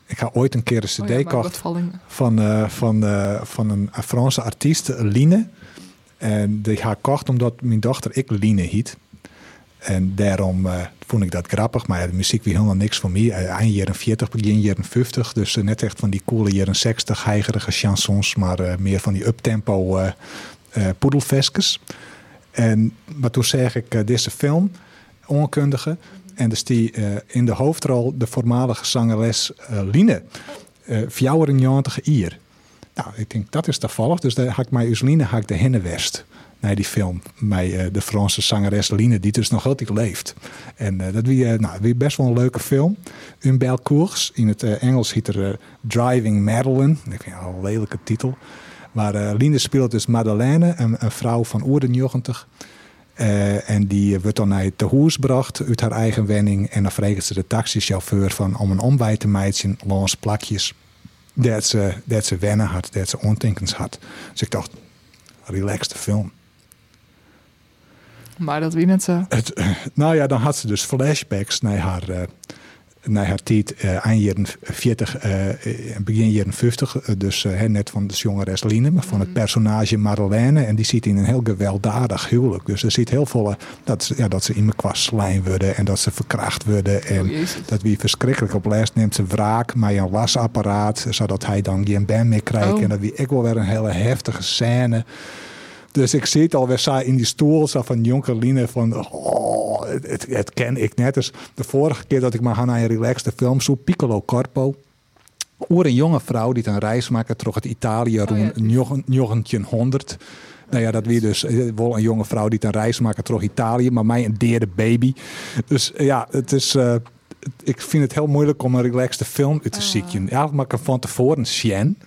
Speaker 2: ik ga ooit een keer een cd
Speaker 3: Oh ja, maar
Speaker 2: kocht
Speaker 3: bevallingen.
Speaker 2: van, eh, van, eh, van een Franse artiest, Line. En die ga ik kocht omdat mijn dochter ik Line hiet. En daarom eh, vond ik dat grappig. Maar ja, de muziek was helemaal niks voor mij. Eh, Eind jaren 40, begin jaren 50. Dus eh, net echt van die coole jaren 60 heigerige chansons. Maar eh, meer van die uptempo eh eh, poedelveskes. En, maar toen zeg ik eh, deze film, onkundige. En dus die eh, in de hoofdrol de voormalige zangeres eh, Line. eh 94 jaar. Nou, ik denk dat is toevallig. Dus daar haak ik mijn Useline haak de henne west. Naar die film. Met eh, de Franse zangeres Line, die dus nog altijd leeft. En eh, dat wie, eh, nou, wie best wel een leuke film. Een Belcours. In het eh, Engels heet er eh, Driving Madeline. Ik vind het al een lelijke titel. Maar eh Line speelt dus Madeleine, een, een vrouw van oerdenjochtig. Eh, en die wordt dan naar het tehuis gebracht uit haar eigen wenning. En dan vraagt ze de taxichauffeur van om een omwij te meiden langs plakjes. Dat ze, dat ze wennen had, dat ze ontinkens had. Dus ik dacht, relaxed film.
Speaker 3: Maar dat wie net zo.
Speaker 2: Het, nou ja, dan had ze dus flashbacks naar haar, eh, naar haar tijd eh aan jaren 40, eh, begin jaren 50. eh, dus eh, hè, net van de jongeres Line, maar van het personage Madeleine. En die zit in een heel gewelddadig huwelijk. Dus er zit heel veel eh, dat, ze- ja, dat ze in elkaar slijm worden en dat ze verkracht worden. En
Speaker 3: Oh, jezus.
Speaker 2: dat wie verschrikkelijk op les neemt ze wraak maar een lasapparaat, zodat hij dan geen band meer krijgt.
Speaker 3: Oh.
Speaker 2: En dat wie ik wel weer een hele heftige scène. Dus ik zit alweer zo in die stoel zo van Jonkerline van, oh, het, het, het ken ik net. Dus de vorige keer dat ik maar ga naar een relaxte film zoek, Piccolo Corpo. Oer een jonge vrouw die een reis maakt door het Italië
Speaker 3: Oh
Speaker 2: rond
Speaker 3: die-
Speaker 2: Njoggen- Njoggentje 100. Nou ja, dat weer dus eh, wel een jonge vrouw die een reis maakt door Italië, maar mij een derde baby. Dus eh, ja, het is. eh, het- ik vind het heel moeilijk om een relaxte film uit te
Speaker 3: Ah.
Speaker 2: zien. Ja, maar ik kan van tevoren zien.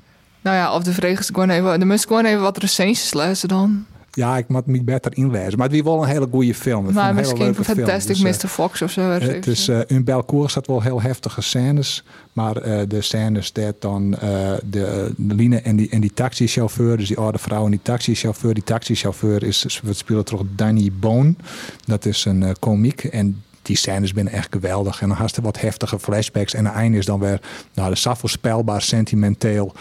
Speaker 3: Nou ja, of de vreugde gewoon even. De moest gewoon even wat recensies lezen dan.
Speaker 2: Ja, ik moet me beter inlezen. Maar het is wel een hele goede film. Ik vond het
Speaker 3: maar
Speaker 2: een hele
Speaker 3: misschien
Speaker 2: leuke film.
Speaker 3: Fantastic
Speaker 2: Dus, eh,
Speaker 3: Mr. Fox of zo.
Speaker 2: Eh, Het is, eh in Belcourt zat wel heel heftige scènes. Maar eh, de scènes dat dan eh, de, eh, de Line en die, en die taxichauffeur, dus die oude vrouw en die taxichauffeur. Die taxichauffeur is, wat speelt toch Danny Boon. Dat is een eh, komiek. En die scènes zijn echt geweldig. En dan had ze wat heftige flashbacks. En het einde is dan weer, nou, dat is zo voorspelbaar, sentimenteel.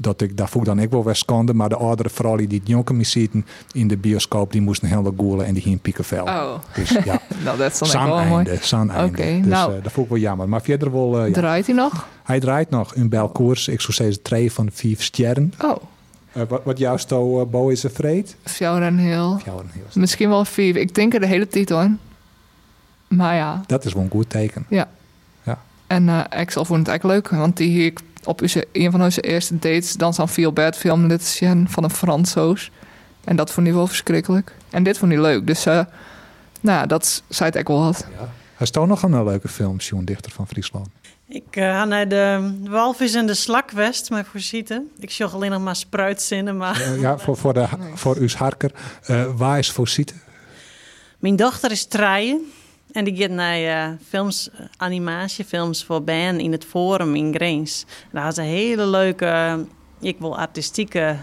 Speaker 2: Dat ik, daar voel ik dan ik wel weer schande. Maar de oudere vrouw die het jonker me ziet in de bioscoop, die moest een hele goelen en die ging piekenvel.
Speaker 3: Oh,
Speaker 2: Dus ja.
Speaker 3: nou dat is dan ook
Speaker 2: Zaan
Speaker 3: wel mooi.
Speaker 2: einde, zaan einde.
Speaker 3: Oké,
Speaker 2: dus
Speaker 3: nou.
Speaker 2: eh, dat vond ik wel jammer. Maar verder wel, eh, oh ja.
Speaker 3: Draait hij nog?
Speaker 2: hij draait nog een belkoers. Ik zou zeggen twee van vijf sterren.
Speaker 3: Oh,
Speaker 2: Eh, wat, wat juist al eh, Bo is afraid.
Speaker 3: Sjouren Hill.
Speaker 2: Ja, een heel-
Speaker 3: Misschien wel vier. Ik denk er de hele titel in. Maar ja.
Speaker 2: Dat is wel een goed teken.
Speaker 3: Ja.
Speaker 2: Ja.
Speaker 3: En eh Axel vond het echt leuk, want die hier op onze, een van onze eerste dates dan zo'n Feel Bad film dit is een van een Fransoos. En dat vond hij wel verschrikkelijk. En dit vond hij leuk, dus eh, nou, ja, dat zei het echt wel wat.
Speaker 2: Hij is toch nog een eh, leuke film, Sjoen Dichter van Friesland.
Speaker 4: Ik eh, ga naar de walvis en de slakwest, maar voor zieten. Ik zag alleen nog maar spruitzinnen, maar...
Speaker 2: Eh, ja, voor, voor, de, voor uw harker. eh waar is Fosite?
Speaker 4: Mijn dochter is treien en die gaat naar eh, films, eh, animatiefilms voor Ben in het Forum in Greens. En Daar had ze hele leuke, eh, ik wil artistieke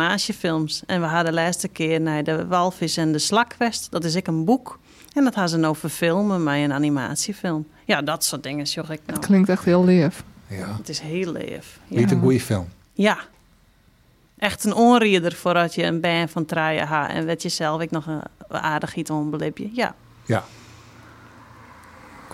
Speaker 4: animatiefilms. En we hadden de laatste keer naar de Walvis en de Slakwest. Dat is ik een boek. En dat hadden ze nou verfilmen met een animatiefilm. Ja, dat soort dingen, joh. Ik
Speaker 3: Het
Speaker 4: nou.
Speaker 3: klinkt echt heel lief.
Speaker 2: Ja.
Speaker 4: Het is heel leef. Ja.
Speaker 2: Niet een goede film.
Speaker 4: Ja. Echt een onrieder voordat je een band van traaien ha en werd je zelf ik nog een aardig iets onbelipje. Ja.
Speaker 2: Ja.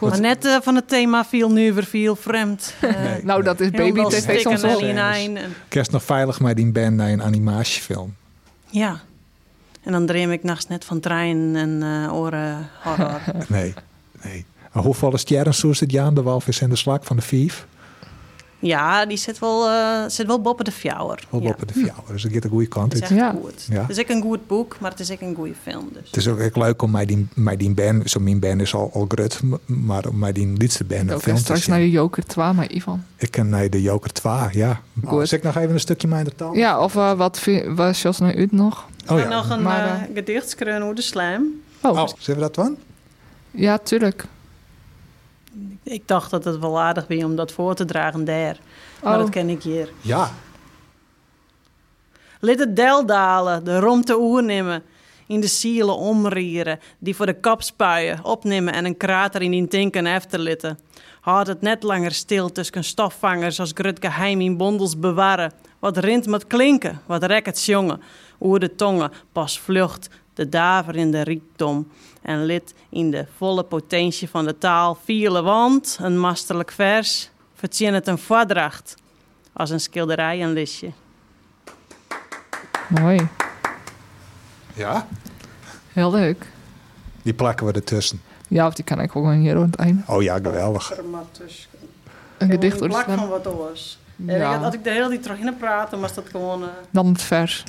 Speaker 4: Maar net eh, van het thema viel nu weer veel vreemd. Eh,
Speaker 2: <laughs> Nee.
Speaker 3: nou, dat is
Speaker 4: heel
Speaker 3: baby
Speaker 4: veel
Speaker 3: tv
Speaker 4: stikken
Speaker 3: soms wel.
Speaker 4: en
Speaker 2: wel.
Speaker 4: inijn en-
Speaker 2: Kerst nog veilig met die band naar een animatiefilm.
Speaker 4: Ja. En dan dream ik nachts net van trein en eh, oren
Speaker 3: <laughs>
Speaker 4: horror.
Speaker 2: Nee. nee. En hoeveel sterren zoest het Jaan de Walvis en de Slak van de Vief?
Speaker 4: ja, die zit wel, eh, zit wel boppen de fjouwer.
Speaker 2: Wel
Speaker 4: ja.
Speaker 2: op de Fjouwer. Dus dat gaat een goede kant.
Speaker 4: Het
Speaker 2: uit.
Speaker 4: is echt
Speaker 3: Ja.
Speaker 4: goed.
Speaker 2: Ja.
Speaker 4: Het is ook een goed boek, maar het is ook een goede film. Dus.
Speaker 2: Het is ook echt leuk om mij die, mij die band, zo mijn band is al, al grut, m- maar om mij die liedste band een
Speaker 3: Ook
Speaker 2: film
Speaker 3: en
Speaker 2: te
Speaker 3: straks naar
Speaker 2: zien.
Speaker 3: de Joker 2, maar Ivan.
Speaker 2: Ik ken nee, de Joker 2, ja.
Speaker 3: Goed.
Speaker 2: Oh, zeg ik nog even een stukje minder taal?
Speaker 3: Ja, of eh, wat vi- was Jos naar Ut nog?
Speaker 2: Oh
Speaker 4: En
Speaker 2: ja.
Speaker 4: nog een
Speaker 3: Maar,
Speaker 4: eh, gedichtskreun over de slijm.
Speaker 3: Oh,
Speaker 2: Oh, zullen we dat dan?
Speaker 3: ja, tuurlijk.
Speaker 4: Ik dacht dat het wel aardig was om dat voor te dragen daar. Maar
Speaker 3: Oh.
Speaker 4: dat ken ik hier.
Speaker 2: Ja.
Speaker 4: Lid het del dalen, de romte oer nemen. In de zielen omrieren, die voor de kap spuien, opnemen en een krater in die tinken efterlitten. Houd het net langer stil tussen stofvangers als grut geheim in bondels bewaren. Wat rint met klinken, wat rek het jongen. Oer de tongen, pas vlucht, de daver in de riekdom. En lid in de volle potentie van de taal vielen, want een masterlijk vers vertien het een voordracht als een schilderij een listje.
Speaker 3: Mooi.
Speaker 2: Ja?
Speaker 3: Heel leuk.
Speaker 2: Die plakken we ertussen.
Speaker 3: Ja, of die kan ik ook gewoon hier aan het einde.
Speaker 2: Oh ja, geweldig.
Speaker 3: Een gedicht door de slam.
Speaker 4: wat oors. En ik had-
Speaker 3: Ja,
Speaker 4: Als ik de hele tijd terug in praten, was dat gewoon... eh,
Speaker 3: dan het vers.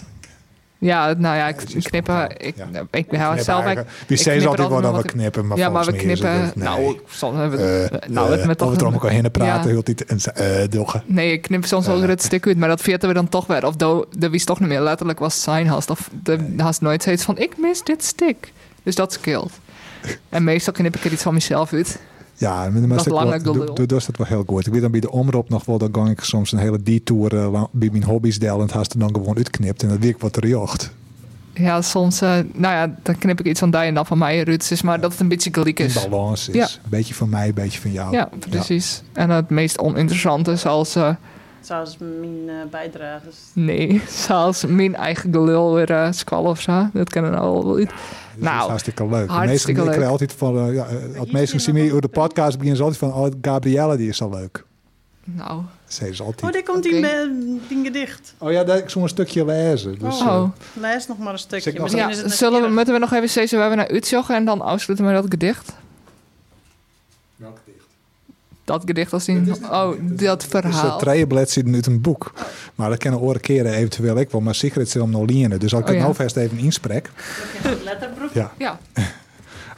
Speaker 3: Ja, nou ja, ik
Speaker 2: het is
Speaker 3: knippen.
Speaker 2: spontaan,
Speaker 3: Ik, nou,
Speaker 2: ja.
Speaker 3: ik behoud
Speaker 2: Knippen
Speaker 3: zelf.
Speaker 2: eigenlijk. Die zei
Speaker 3: knip er
Speaker 2: altijd wel
Speaker 3: altijd
Speaker 2: dat
Speaker 3: nog
Speaker 2: we
Speaker 3: wat-
Speaker 2: knippen, maar
Speaker 3: ja, maar we
Speaker 2: volgens mij is het
Speaker 3: knippen.
Speaker 2: ook- nee.
Speaker 3: Nou, soms hebben we.
Speaker 2: Eh,
Speaker 3: nou, het
Speaker 2: eh,
Speaker 3: met
Speaker 2: of we er allemaal heen praten,
Speaker 3: Ja.
Speaker 2: heel de tijd. En ze, eh, doggen.
Speaker 3: Nee, ik knip soms wel weer het stuk uit, maar dat veerten we dan toch weer. Of do- dat wist toch niet meer. Letterlijk was het zijn haast. Of de haast nooit steeds van, ik mis dit stuk. Dus dat scheelt. En meestal knip ik er iets van mezelf uit.
Speaker 2: Ja, maar dat
Speaker 3: is belangrijk,
Speaker 2: wel,
Speaker 3: dat
Speaker 2: doe- doe
Speaker 3: wil.
Speaker 2: dat wel heel goed. Ik weet dan bij de omroep nog wel, dan gang ik soms een hele detour eh, lang- bij mijn hobby's deel en het haast er dan gewoon uitknipt en dat weet ik wat er jocht.
Speaker 3: Ja, soms, eh, nou ja, dan knip ik iets van die en dan van mij eruit. Dus maar dat het een beetje gelijk
Speaker 2: In
Speaker 3: is.
Speaker 2: balans is.
Speaker 3: Ja.
Speaker 2: Een beetje van mij, een beetje van jou.
Speaker 3: Ja, precies. En het meest oninteressante, zoals, eh,
Speaker 4: Zoals mijn eh bijdrage. Dus
Speaker 3: nee, <laughs> zoals mijn eigen gelul weer eh squallen of zo. Dat kennen we al wel uit.
Speaker 2: Dus dat is
Speaker 3: Nou,
Speaker 2: hartstikke leuk. De meesten
Speaker 3: hartstikke
Speaker 2: ik krijg
Speaker 3: leuk.
Speaker 2: altijd van, eh, ja, eh, het
Speaker 4: hier
Speaker 2: meesten
Speaker 4: zie je
Speaker 2: zien me
Speaker 4: nog
Speaker 2: door de
Speaker 4: een punt.
Speaker 2: podcast beginnen ze altijd van, oh, Gabrielle die is al leuk.
Speaker 3: nou,
Speaker 2: Ze is
Speaker 4: Oh,
Speaker 2: altijd.
Speaker 4: daar komt
Speaker 3: Oké.
Speaker 4: die, eh, die gedicht.
Speaker 2: Oh ja, dat, ik zo'n een stukje lezen. Dus, eh,
Speaker 3: oh.
Speaker 4: Lees nog maar een
Speaker 2: Zeg
Speaker 4: stukje.
Speaker 2: nog-
Speaker 4: Misschien
Speaker 3: Ja,
Speaker 4: is het
Speaker 3: zullen we,
Speaker 4: nieuwsgierig.
Speaker 3: moeten we nog even steeds waar we naar uitjoggen en dan afsluiten met dat gedicht?
Speaker 2: Welk gedicht?
Speaker 3: Dat gedicht als die... Oh, dat
Speaker 2: Het is
Speaker 3: verhaal.
Speaker 2: een treeënblad dus, eh, zit uit een boek. Maar dat kennen oren keren eventueel ik wel. Maar Sigrid zit om nog lienen. Dus als ik
Speaker 3: Oh
Speaker 2: het
Speaker 3: ja.
Speaker 2: nou vast even insprek.
Speaker 4: Letterproef.
Speaker 2: Ja.
Speaker 3: Ja,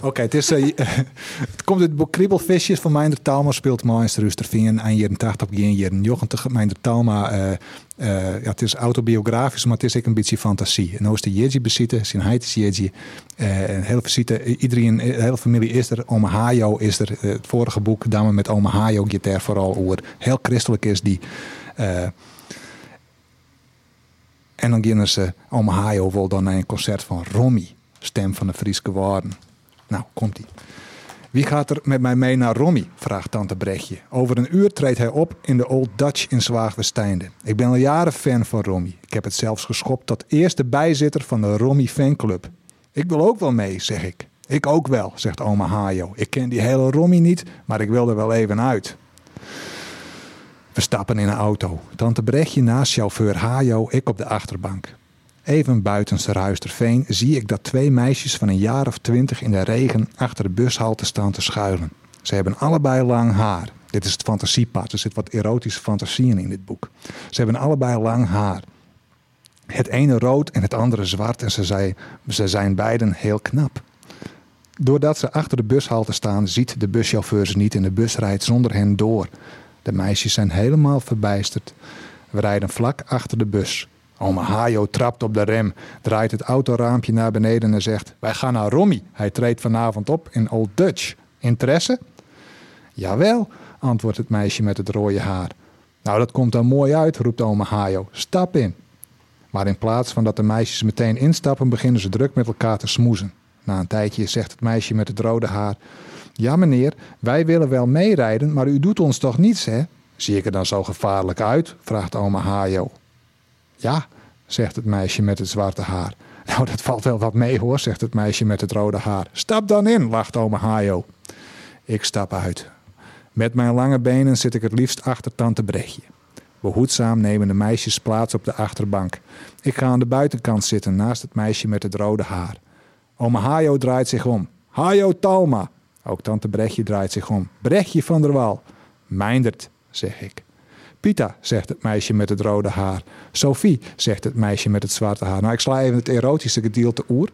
Speaker 2: Oké, het is. eh, <laughs> het komt uit het boek Kriebelvisjes van Meinder Talma. Speelt Meister Rusterveen aan jaren 80, begin jaren 90. Meinder Talma, eh, eh, ja, het is autobiografisch, maar het is ook een beetje fantasie. En hoe is de Jeetje bezitten, zijn heid is Jeetje. Eh, en heel visite, iedereen, eh, heel familie is er. Oma Hajo is er. Eh, het vorige boek, Dame met Oma Hajo, gitaar vooral over. Heel christelijk is die. eh, en dan gingen ze Oma Hajo wel dan naar een concert van Romy, stem van de Frieske Waarden. Nou, komt ie. Wie gaat er met mij mee naar Rommy? vraagt tante Brechtje. Over een uur treedt hij op in de Old Dutch in Zwaagwesteinde. Ik ben al jaren fan van Rommy. Ik heb het zelfs geschopt tot eerste bijzitter van de Rommy fanclub. Ik wil ook wel mee, zeg ik. Ik ook wel, zegt oma Hajo. Ik ken die hele Rommy niet, maar ik wil er wel even uit. We stappen in een auto. Tante Brechtje naast chauffeur Hajo, ik op de achterbank. Even buiten Ruisterveen zie ik dat twee meisjes van een jaar of twintig in de regen achter de bushalte staan te schuilen. Ze hebben allebei lang haar. Dit is het fantasiepad. Er zit wat erotische fantasieën in dit boek. Ze hebben allebei lang haar. Het ene rood en het andere zwart en ze, zei, ze zijn beiden heel knap. Doordat ze achter de bushalte staan, ziet de buschauffeur ze niet en de bus rijdt zonder hen door. De meisjes zijn helemaal verbijsterd. We rijden vlak achter de bus. Oma Hajo trapt op de rem, draait het autoraampje naar beneden en zegt: Wij gaan naar Rommy. Hij treedt vanavond op in Old Dutch. Interesse? Jawel, antwoordt het meisje met het rode haar. Nou, dat komt dan mooi uit, roept oma Hajo. Stap in. Maar in plaats van dat de meisjes meteen instappen, beginnen ze druk met elkaar te smoezen. Na een tijdje zegt het meisje met het rode haar: Ja, meneer, wij willen wel meerijden, maar u doet ons toch niets, hè? Zie ik er dan zo gevaarlijk uit? vraagt oma Hajo. Ja, zegt het meisje met het zwarte haar. <laughs> Nou, dat valt wel wat mee hoor, zegt het meisje met het rode haar. Stap dan in, lacht oma Hajo. Ik stap uit. Met mijn lange benen zit ik het liefst achter tante Brechtje. Behoedzaam nemen de meisjes plaats op de achterbank. Ik ga aan de buitenkant zitten naast het meisje met het rode haar. Oma Hajo draait zich om. Hajo Talma. Ook tante Brechtje draait zich om. Brechtje van der Waal. Mijndert, zeg ik. Pita, zegt het meisje met het rode haar. Sophie, zegt het meisje met het zwarte haar. Nou, ik sla even het erotische gedeelte oer.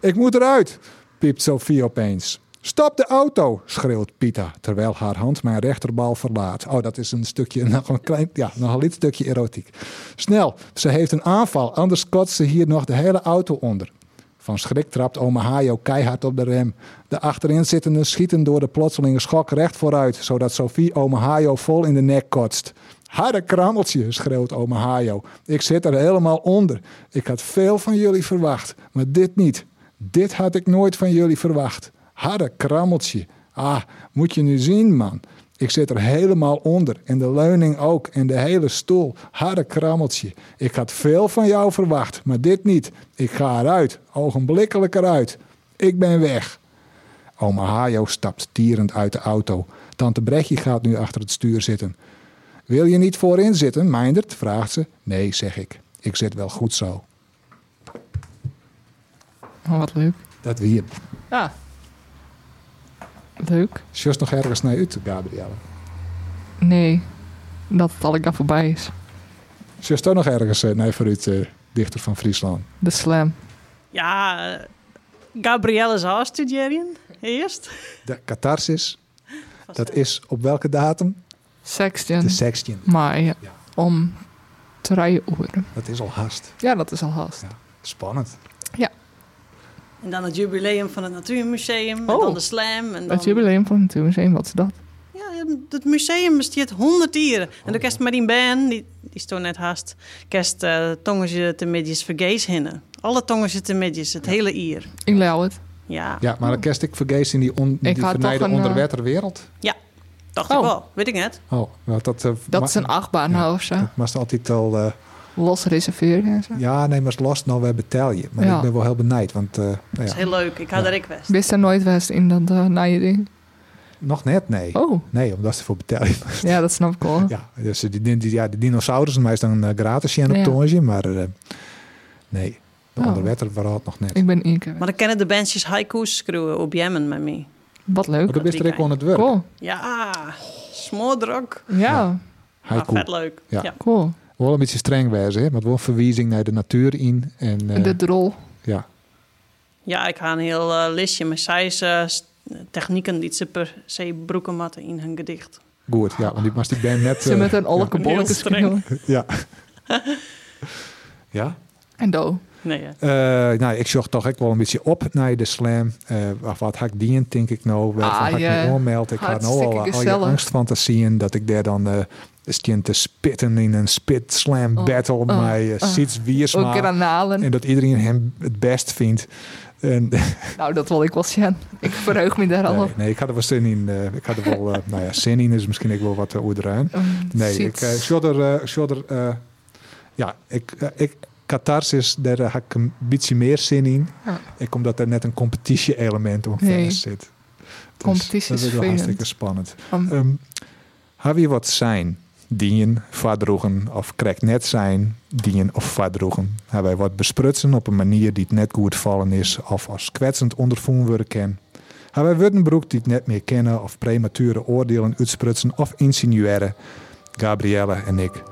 Speaker 2: Ik moet eruit, piept Sophie opeens. Stap de auto, schreeuwt Pita, terwijl haar hand mijn rechterbal verlaat. Oh, dat is een stukje, <laughs> nog een klein, ja, nog een licht stukje erotiek. Snel, ze heeft een aanval, anders kotst ze hier nog de hele auto onder. Van schrik trapt oma Hajo keihard op de rem. De achterinzittenden schieten door de plotselinge schok recht vooruit, zodat Sophie oma Hajo vol in de nek kotst. Harde krammeltje, schreeuwt oma Hajo. Ik zit er helemaal onder. Ik had veel van jullie verwacht, maar dit niet. Dit had ik nooit van jullie verwacht. Harde krammeltje. Ah, moet je nu zien, man. Ik zit er helemaal onder. En de leuning ook. En de hele stoel. Harde krammeltje. Ik had veel van jou verwacht, maar dit niet. Ik ga eruit. Ogenblikkelijk eruit. Ik ben weg. Oma Hajo stapt tierend uit de auto. Tante Brechtje gaat nu achter het stuur zitten. Wil je niet voorin zitten, Meindert? vraagt ze. Nee, zeg ik. Ik zit wel goed zo.
Speaker 3: oh, wat leuk.
Speaker 2: Dat we hier.
Speaker 3: Ja. Leuk.
Speaker 2: Sjust nog ergens naar uit, Gabrielle.
Speaker 3: Nee. dat het al ik voorbij is.
Speaker 2: Zie je toch nog ergens eh nee, vooruit eh, dichter van Friesland?
Speaker 3: De slam.
Speaker 4: Ja, eh, Gabrielle zou afstuderen eerst.
Speaker 2: De catharsis, dat is op welke datum?
Speaker 3: 16
Speaker 2: De 16.
Speaker 3: mei
Speaker 2: Ja.
Speaker 3: om 3 uur.
Speaker 2: Dat is al haast.
Speaker 3: Ja, dat is al haast.
Speaker 2: Ja. Spannend.
Speaker 4: En dan het jubileum van het Natuurmuseum. En
Speaker 3: Oh.
Speaker 4: dan de slam. En dan...
Speaker 3: Het jubileum van het Natuurmuseum, wat is dat?
Speaker 4: Ja, het museum bestaat 100 jaar.
Speaker 2: Oh,
Speaker 4: En de kerst Marien Ben, die, die is toen net haast, kerst eh tongen te midjes vergees hinnen. Alle tongen te midjes, het hele ier.
Speaker 3: Ik leu het.
Speaker 4: Ja,
Speaker 2: Ja, maar dan kerst ik vergees in die, on, die
Speaker 3: had toch
Speaker 2: vernijde
Speaker 3: een, eh,
Speaker 2: onderwetterwereld.
Speaker 4: dacht
Speaker 3: Oh.
Speaker 4: ik wel. Weet ik net.
Speaker 2: Oh, nou, dat, eh,
Speaker 3: Dat
Speaker 2: ma-
Speaker 3: is een achtbaan
Speaker 2: Ja.
Speaker 3: nou of zo.
Speaker 2: dat was altijd al... eh,
Speaker 3: Los reserveren en zo.
Speaker 2: ja, nee, maar last nou weer betel je. Maar
Speaker 3: Ja.
Speaker 2: ik ben wel heel benijd, want eh, nou
Speaker 4: Dat
Speaker 2: ja,
Speaker 4: is heel leuk. Ik had er ik best.
Speaker 3: Wist er nooit west in dat uh, naaie ding.
Speaker 2: nog net nee.
Speaker 3: Oh,
Speaker 2: Nee, omdat ze voor betel je. moest.
Speaker 3: ja, dat snap ik wel.
Speaker 2: Ja, dus die, die, die- ja, de dinosaurussen, mij is dan eh, gratis hier op
Speaker 3: Ja.
Speaker 2: Tonge, maar eh, nee, de
Speaker 3: Oh.
Speaker 2: onderwetterwereld nog net.
Speaker 3: Ik ben één keer.
Speaker 4: Maar dan kennen de bandjes haiku's schreeuwen op Jemen met mij.
Speaker 3: Wat leuk.
Speaker 2: Maar dan ben je er ook aan het werk.
Speaker 3: Cool.
Speaker 4: Ja, smoordrok.
Speaker 3: Ja,
Speaker 2: Haiku.
Speaker 4: Ah, vet leuk.
Speaker 2: Ja.
Speaker 4: Ja.
Speaker 3: cool.
Speaker 2: Wel een beetje streng wijzen, hè? maar wel een verwijzing naar de natuur in. En, eh,
Speaker 3: De drol.
Speaker 2: ja.
Speaker 4: Ja, ik ga een heel eh, listje met zij is, eh, s- technieken die ze per se broeken matten in hun gedicht.
Speaker 2: Goed, ja, want die was die band net...
Speaker 3: <laughs> Ze
Speaker 2: eh,
Speaker 3: met een olleke
Speaker 4: Heel
Speaker 3: bolleke
Speaker 4: streng.
Speaker 3: spelen.
Speaker 2: ja. ja.
Speaker 3: En do.
Speaker 4: Nee, ja.
Speaker 2: Eh, nou, ik zocht toch ook wel een beetje op naar de slam. Eh, of wat had ik dient, denk ik nou. Wat
Speaker 3: Ah,
Speaker 2: had ik
Speaker 3: je-
Speaker 2: me oormeld? Ik had nou al,
Speaker 3: hartstikke
Speaker 2: al je
Speaker 3: gezellig.
Speaker 2: angstfantasieën dat ik daar dan... eh stond te spitten in een spit slam
Speaker 3: Oh,
Speaker 2: battle met eh,
Speaker 3: oh,
Speaker 2: mij
Speaker 3: oh.
Speaker 2: Siets Wiersma.
Speaker 3: Ook granalen.
Speaker 2: En dat iedereen hem het best vindt. En,
Speaker 3: Nou, dat wil ik wel zien. Ik verheug me daar al
Speaker 2: nee, <laughs>
Speaker 3: op.
Speaker 2: nee, ik had er wel zin in. eh, ik had er wel, eh, nou ja, zin in is misschien ook wel wat uh, oerdruin.
Speaker 3: Mm,
Speaker 2: Nee, ik
Speaker 3: ziet.
Speaker 2: eh, zou er, eh, zou er, eh, ja, ik, eh, ik, catharsis, daar eh, had ik een beetje meer zin in.
Speaker 3: Ja.
Speaker 2: Ik, omdat er net een competitie-element om
Speaker 3: Nee.
Speaker 2: vast zit. Dus
Speaker 3: Competitie
Speaker 2: dat
Speaker 3: is
Speaker 2: wel
Speaker 3: vervelend.
Speaker 2: hartstikke spannend.
Speaker 3: Um,
Speaker 2: Ehm heb je wat zijn, dienen, vadroegen of krijgt net zijn, dienen of vadroegen? Hebben wij wat besprutsen op een manier die het net goed vallen is of als kwetsend ondervoen worden kan? Hebben wij Wuttenbroek die het net meer kennen of premature oordelen uitsprutsen of insinueren? Gabrielle en ik,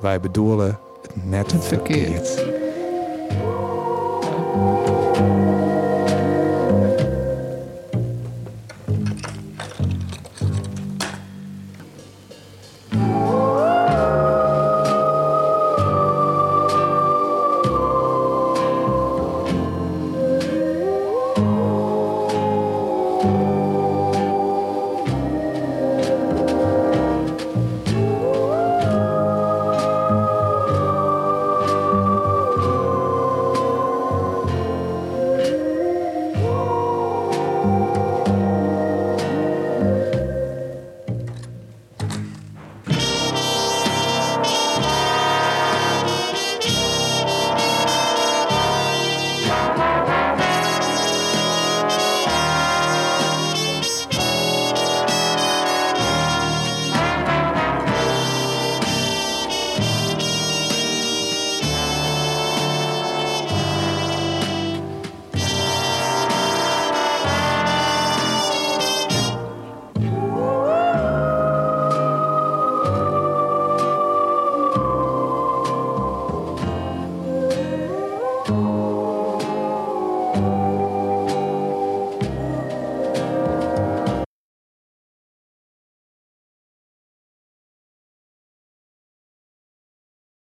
Speaker 2: wij bedoelen het net
Speaker 3: Het verkeerd.
Speaker 2: verkeerd.